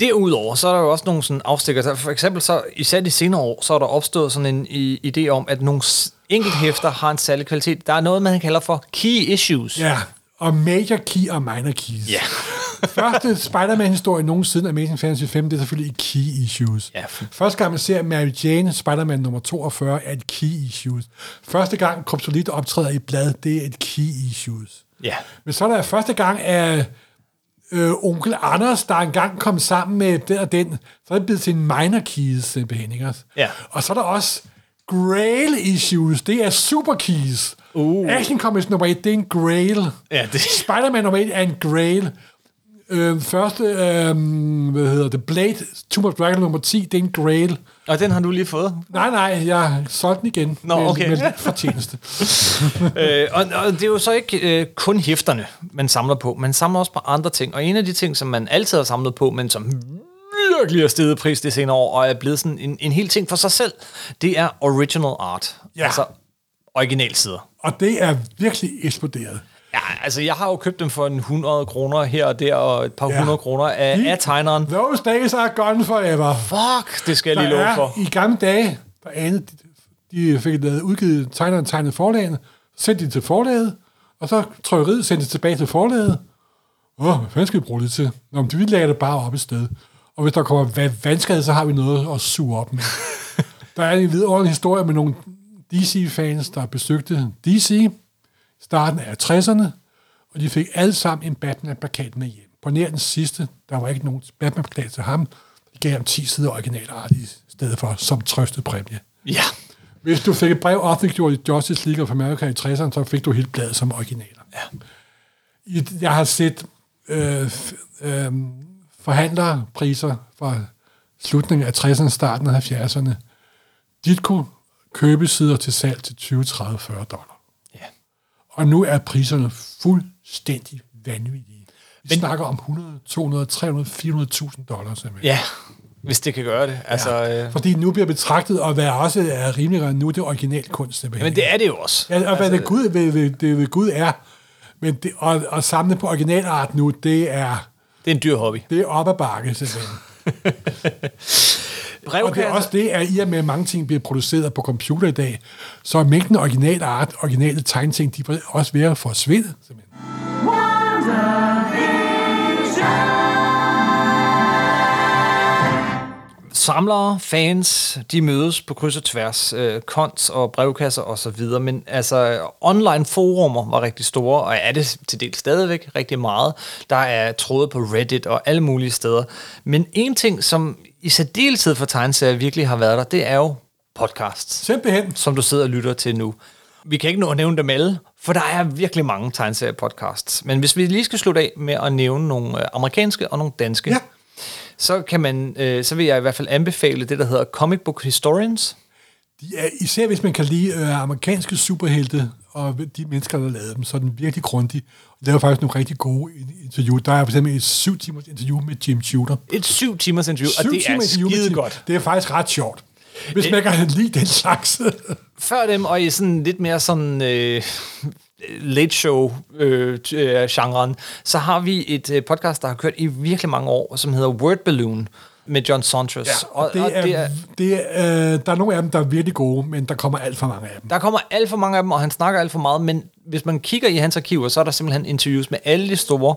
[SPEAKER 1] Derudover, så er der jo også nogle sådan afstikker. Så For eksempel, så, især de senere år, så er der opstået sådan en i- idé om, at nogle s- enkelthæfter har en særlig kvalitet. Der er noget, man kalder for key issues.
[SPEAKER 2] Ja. Og major key og minor keys.
[SPEAKER 1] Ja.
[SPEAKER 2] Første Spider-Man-historie nogensinde, Amazing Fantasy 5, det er selvfølgelig et key issues.
[SPEAKER 1] Ja.
[SPEAKER 2] Første gang, man ser Mary Jane, Spider-Man nummer 42, er et key issues. Første gang, Kryptolit optræder i et blad, det er et key issues.
[SPEAKER 1] ja.
[SPEAKER 2] Men så er der første gang, at øh, onkel Anders, der engang kom sammen med den og den, så er det blevet til en minor keys simpelthen, ikke også?
[SPEAKER 1] Ja.
[SPEAKER 2] Og så er der også grail issues, det er super keys. Uh. Action Comics nummer 1, det er en grail.
[SPEAKER 1] Ja, det-
[SPEAKER 2] Spider-Man nummer 1 er en grail. Øh, første, øh, hvad hedder det, Blade, Tomb of Dragon nummer 10, det er en grail.
[SPEAKER 1] Og den har du lige fået.
[SPEAKER 2] Nej, nej, jeg solgte den igen.
[SPEAKER 1] Nå,
[SPEAKER 2] med,
[SPEAKER 1] okay.
[SPEAKER 2] Med lidt fortjeneste.
[SPEAKER 1] øh, og, og det er jo så ikke øh, kun hæfterne, man samler på. Man samler også på andre ting. Og en af de ting, som man altid har samlet på, men som virkelig har steget i pris det senere år, og er blevet sådan en, en hel ting for sig selv, det er original art.
[SPEAKER 2] Ja.
[SPEAKER 1] Altså originalsider.
[SPEAKER 2] Og det er virkelig eksploderet.
[SPEAKER 1] Ja, altså jeg har jo købt dem for en 100 kroner her og der, og et par
[SPEAKER 2] Ja.
[SPEAKER 1] ja. 100 kroner af,
[SPEAKER 2] Lige-
[SPEAKER 1] af tegneren.
[SPEAKER 2] Those days are gone forever.
[SPEAKER 1] Fuck, det skal jeg lige
[SPEAKER 2] Der
[SPEAKER 1] love
[SPEAKER 2] er-
[SPEAKER 1] for.
[SPEAKER 2] I gamle dage, der anede, de, de fik lavet udgivet tegneren tegnet forlagene, sendte de til forlaget, og så trykkeriet sendte det tilbage til forlaget. Åh, hvad fanden skal vi bruge det til? Nå, men vi lægger det bare op et sted. Og hvis der kommer va- vandskade, så har vi noget at suge op med. der er en vidunderlig historie med nogle DC-fans, der besøgte DC i starten af 60'erne, og de fik alle sammen en Batman-plakat med hjem. På nær den sidste, der var ikke nogen Batman-plakat til ham, Jeg gav ham 10 sider originalart i stedet for som trøstet præmie.
[SPEAKER 1] Ja.
[SPEAKER 2] Hvis du fik et brev offentliggjort i Justice League of America i 60'erne, så fik du helt bladet som originaler.
[SPEAKER 1] Ja.
[SPEAKER 2] I- Jeg har set øh, f- øh, forhandlerpriser fra slutningen af 60'erne, starten af 70'erne. Ditko købesider til salg til 20, 30, 40 dollar.
[SPEAKER 1] ja.
[SPEAKER 2] Og nu er priserne fuldstændig vanvittige. Vi
[SPEAKER 1] Men-
[SPEAKER 2] Men, snakker om 100, 200, 300, 400.000 dollars. Simpelthen.
[SPEAKER 1] Ja, hvis det kan gøre det. Altså, ja. øh,
[SPEAKER 2] Fordi nu bliver betragtet at være også er rimeligere end nu, det er original kunst. Simpelthen.
[SPEAKER 1] men det er det jo også.
[SPEAKER 2] Ja, og hvad det, Gud, ved, ved, det ved Gud er, men det, og, og samle på originalart nu, det er,
[SPEAKER 1] Det er en dyr hobby.
[SPEAKER 2] det er op ad bakke, simpelthen.
[SPEAKER 1] Brev
[SPEAKER 2] Og det er også det, at i og med, at mange ting bliver produceret på computer i dag, så er mængden af originalart, originale tegneting, de er også ved at forsvinde, simpelthen.
[SPEAKER 1] samlere, fans, de mødes på kryds og tværs, øh, kons og brevkasser og så videre, men altså online forumer var rigtig store, og er det til del stadigvæk rigtig meget. Der er tråde på Reddit og alle mulige steder. Men en ting, som i særdeleshed for tegneserier virkelig har været der, det er jo podcasts,
[SPEAKER 2] Simpelthen.
[SPEAKER 1] som du sidder og lytter til nu. Vi kan ikke nå at nævne dem alle, for der er virkelig mange tegneserie-podcasts. Men hvis vi lige skal slutte af med at nævne nogle øh, amerikanske og nogle danske,
[SPEAKER 2] Ja.
[SPEAKER 1] så kan man, øh, så vil jeg i hvert fald anbefale det, der hedder Comic Book Historians.
[SPEAKER 2] De er, især hvis man kan lide øh, amerikanske superhelte, og de mennesker, der lavede dem, så er den virkelig grundig. Og laver faktisk nogle rigtig gode in- interview. Der er for eksempel et syv timers interview med Jim Shooter.
[SPEAKER 1] Et syv timers interview,
[SPEAKER 2] Syv
[SPEAKER 1] og det er
[SPEAKER 2] timer interview med
[SPEAKER 1] skide
[SPEAKER 2] Tim.
[SPEAKER 1] godt.
[SPEAKER 2] Det er faktisk ret sjovt. Hvis man kan lide den slags.
[SPEAKER 1] Før dem, og i sådan lidt mere sådan øh, late show øh, t- øh, genren, så har vi et øh, podcast, der har kørt i virkelig mange år, som hedder Word Balloon med John Saunders.
[SPEAKER 2] og det er, det er, øh, der er nogle af dem, der er virkelig gode, men der kommer alt for mange af dem.
[SPEAKER 1] Der kommer alt for mange af dem, og han snakker alt for meget, men hvis man kigger i hans arkiver, så er der simpelthen interviews med alle de store.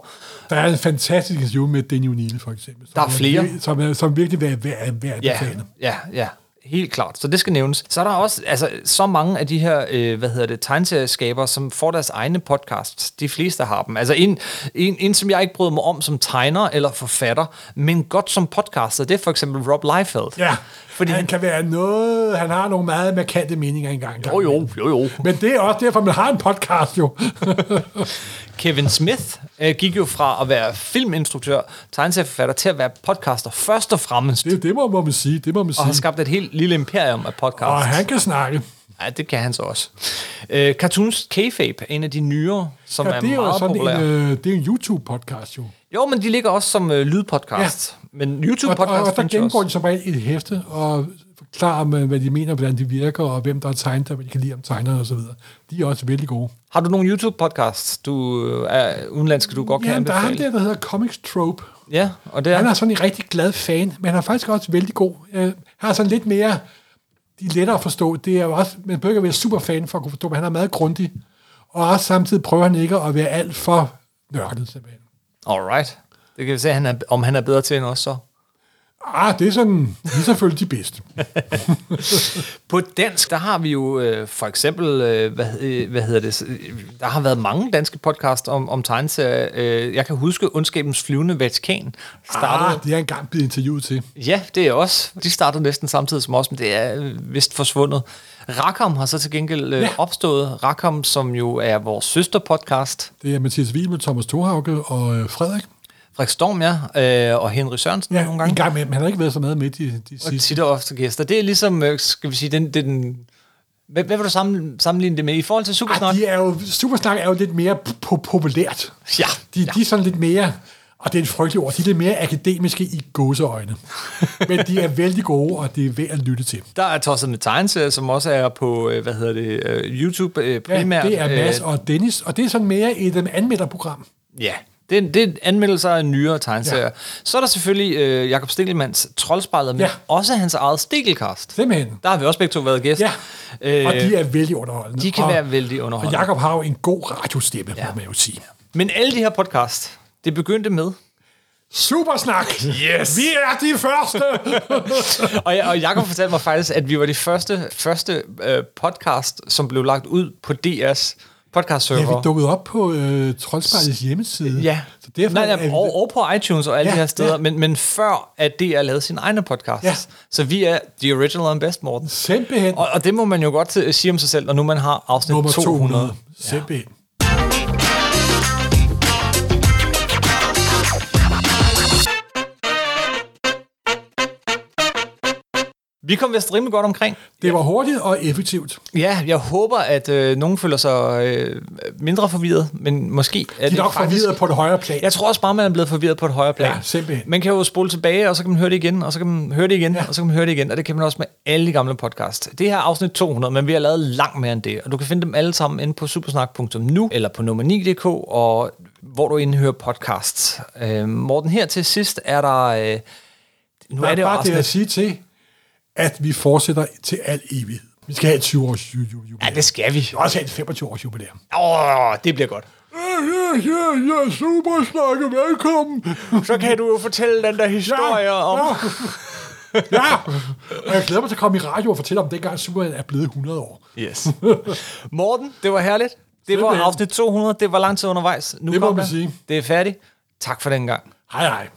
[SPEAKER 2] Der er en fantastisk interview med Daniel Neal, for eksempel. som
[SPEAKER 1] Der er flere.
[SPEAKER 2] vir- Som, er, som virkelig er værd at være
[SPEAKER 1] Ja, ja, ja. Helt klart. Så det skal nævnes. Så er der også altså, så mange af de her, øh, hvad hedder det, tegneserieskabere, som får deres egne podcasts. De fleste har dem. Altså en, en, en, som jeg ikke bryder mig om som tegner eller forfatter, men godt som podcaster, det er for eksempel Rob Liefeld.
[SPEAKER 2] Ja,
[SPEAKER 1] Fordi
[SPEAKER 2] fordi han
[SPEAKER 1] han-
[SPEAKER 2] kan være noget... Han har nogle meget markante meninger engang.
[SPEAKER 1] Jo, jo, jo, jo.
[SPEAKER 2] Men det er også derfor, man har en podcast jo.
[SPEAKER 1] Kevin Smith øh, gik jo fra at være filminstruktør, tegneserieforfatter, til at være podcaster først og fremmest.
[SPEAKER 2] Det, det må, må man sige, det må man
[SPEAKER 1] og har
[SPEAKER 2] sige.
[SPEAKER 1] skabt et helt lille imperium af podcasts.
[SPEAKER 2] Og han kan snakke.
[SPEAKER 1] Ja, det kan han så også. Øh, cartoons K-Fape, en af de nyere, som ja,
[SPEAKER 2] Ja,
[SPEAKER 1] er,
[SPEAKER 2] det er jo
[SPEAKER 1] meget
[SPEAKER 2] sådan
[SPEAKER 1] populær.
[SPEAKER 2] en, øh, det er en YouTube-podcast jo.
[SPEAKER 1] Jo, men de ligger også som øh, lydpodcast. Ja. Men
[SPEAKER 2] Og, og,
[SPEAKER 1] YouTube-podcast
[SPEAKER 2] og der
[SPEAKER 1] findes jo
[SPEAKER 2] gennemgår de
[SPEAKER 1] også.
[SPEAKER 2] som regel et hæfte og forklarer, med, hvad de mener, hvordan de virker, og hvem der har tegnet, og hvad de kan lide om tegnerne osv. De er også vældig gode.
[SPEAKER 1] Har du nogle YouTube-podcasts, du øh, er udenlandske, du godt kan
[SPEAKER 2] Jamen, der er ham
[SPEAKER 1] anbefale?
[SPEAKER 2] der, der hedder Comics Trope.
[SPEAKER 1] Ja, og det er...
[SPEAKER 2] Han er sådan en rigtig glad fan, men han er faktisk også vældig god. Øh, han har sådan lidt mere, de er lettere at forstå. Det er jo også, man behøver ikke at være super fan for at kunne forstå, men han er meget grundig. Og også samtidig prøver han ikke at være alt for nørdet, simpelthen.
[SPEAKER 1] Alright. Det kan vi se, han er, om han er bedre til end os så.
[SPEAKER 2] Ah, det er sådan, vi er selvfølgelig de bedste.
[SPEAKER 1] På dansk, der har vi jo øh, for eksempel, øh, hvad, øh, hvad hedder det, øh, der har været mange danske podcasts om, om tegneserier. Øh, jeg kan huske Undskabens Flyvende Vatikan startede.
[SPEAKER 2] Ah, det er engang blevet interviewet til.
[SPEAKER 1] Ja, det er også. De startede næsten samtidig som os, men det er øh, vist forsvundet. Rackham har så til gengæld øh, ja.
[SPEAKER 2] Ja.
[SPEAKER 1] opstået. Rackham, som jo er vores søsterpodcast.
[SPEAKER 2] Det er Mathias Wiel, Thomas Thorhauke og øh, Frederik.
[SPEAKER 1] Frederik Storm, ja, øh, og Henry Sørensen
[SPEAKER 2] Ja,
[SPEAKER 1] nogle gange.
[SPEAKER 2] en gang med, men han har ikke været så meget med de, de
[SPEAKER 1] Og
[SPEAKER 2] sidste.
[SPEAKER 1] tit og ofte gæster. Det er ligesom, øh, skal vi sige, den... Det er den hvad, hvad vil du sammen, sammenligne det med i forhold til Supersnak?
[SPEAKER 2] Ej, Ah, de er jo, Supersnak er jo lidt mere po- populært.
[SPEAKER 1] Ja,
[SPEAKER 2] De,
[SPEAKER 1] ja.
[SPEAKER 2] de er sådan lidt mere, og det er et frygteligt ord, de er lidt mere akademiske i gåseøjne. Men de er vældig gode, og det er værd at lytte til.
[SPEAKER 1] Der er tosset med tegneserier, som også er på, øh, hvad hedder det, øh, YouTube øh,
[SPEAKER 2] Ja,
[SPEAKER 1] primært.
[SPEAKER 2] det er Mads
[SPEAKER 1] Øh,
[SPEAKER 2] og Dennis, og det er sådan mere et um, anmelderprogram.
[SPEAKER 1] Ja, det, er- det er anmeldelser af nyere tegneserier. Ja.
[SPEAKER 2] Ja.
[SPEAKER 1] Så er der selvfølgelig øh, Jakob Stikkelmands Troldspejlet, men ja.
[SPEAKER 2] Ja.
[SPEAKER 1] også hans eget Stikkelkast.
[SPEAKER 2] Simpelthen.
[SPEAKER 1] Der har vi også begge to været gæst.
[SPEAKER 2] Ja,
[SPEAKER 1] Øh,
[SPEAKER 2] og de er vældig underholdende.
[SPEAKER 1] de kan
[SPEAKER 2] og,
[SPEAKER 1] være vældig
[SPEAKER 2] Og
[SPEAKER 1] underholdende.
[SPEAKER 2] Jakob har jo en god radiostemme, ja. må man jo sige.
[SPEAKER 1] Men alle de her podcast, det begyndte med...
[SPEAKER 2] Supersnak!
[SPEAKER 1] Yes!
[SPEAKER 2] Vi er de første!
[SPEAKER 1] og, ja, og Jacob fortalte mig faktisk, at vi var det første, første øh, podcast, som blev lagt ud på DR's podcast
[SPEAKER 2] Ja, vi
[SPEAKER 1] server.
[SPEAKER 2] dukkede op på øh, Troldspejlets hjemmeside.
[SPEAKER 1] Ja,
[SPEAKER 2] Så derfor
[SPEAKER 1] Nej,
[SPEAKER 2] er vi,
[SPEAKER 1] nej, og, og på iTunes og alle
[SPEAKER 2] Ja,
[SPEAKER 1] ja, de her steder,
[SPEAKER 2] ja.
[SPEAKER 1] ja. men, men før at DR lavede sine egne podcasts.
[SPEAKER 2] Ja.
[SPEAKER 1] Ja. Så vi er the original and best, Morten.
[SPEAKER 2] simpelthen
[SPEAKER 1] Og, og det må man jo godt øh, sige om sig selv, når nu man har afsnit
[SPEAKER 2] nummer 200.
[SPEAKER 1] 200.
[SPEAKER 2] Simpelthen.
[SPEAKER 1] Vi kom vist rimelig godt omkring.
[SPEAKER 2] Det var hurtigt og effektivt.
[SPEAKER 1] Ja, jeg håber, at øh, nogen føler sig øh, mindre forvirret, men måske er
[SPEAKER 2] De er nok forvirret på det højere plan.
[SPEAKER 1] Jeg tror også bare, man er blevet forvirret på et højere plan.
[SPEAKER 2] Ja, simpelthen.
[SPEAKER 1] Man kan jo spole tilbage, og så kan man høre det igen, og så kan man høre det igen, ja. og så kan man høre det igen. Og det kan man også med alle de gamle podcasts. Det her er afsnit 200, men vi har lavet langt mere end det. Og du kan finde dem alle sammen inde på supersnak.nu eller på nummer9.dk, og hvor du indhører podcasts. Øh, Morten, her til sidst er der... Øh, nu
[SPEAKER 2] Der
[SPEAKER 1] er det jo
[SPEAKER 2] bare det
[SPEAKER 1] afsnit
[SPEAKER 2] at sige til, at vi fortsætter til al evighed. Vi skal have et 20-års ju- ju- jubilæum.
[SPEAKER 1] Ja, det skal vi.
[SPEAKER 2] Vi skal også have et 25-års jubilæum.
[SPEAKER 1] Åh, det bliver godt.
[SPEAKER 2] Ja, ja, ja, ja, super snakke, velkommen.
[SPEAKER 1] Så kan du jo fortælle den der historie ja, om... Ja.
[SPEAKER 2] Ja, og jeg glæder mig til at komme i radio og fortælle om dengang Superman er blevet 100 år.
[SPEAKER 1] Yes. Morten, det var herligt. Det var
[SPEAKER 2] Simpelthen.
[SPEAKER 1] afsnit 200. Det var lang tid undervejs. Nu
[SPEAKER 2] Det må
[SPEAKER 1] kom
[SPEAKER 2] man sige.
[SPEAKER 1] Det er færdigt. Tak for den gang.
[SPEAKER 2] Hej, hej.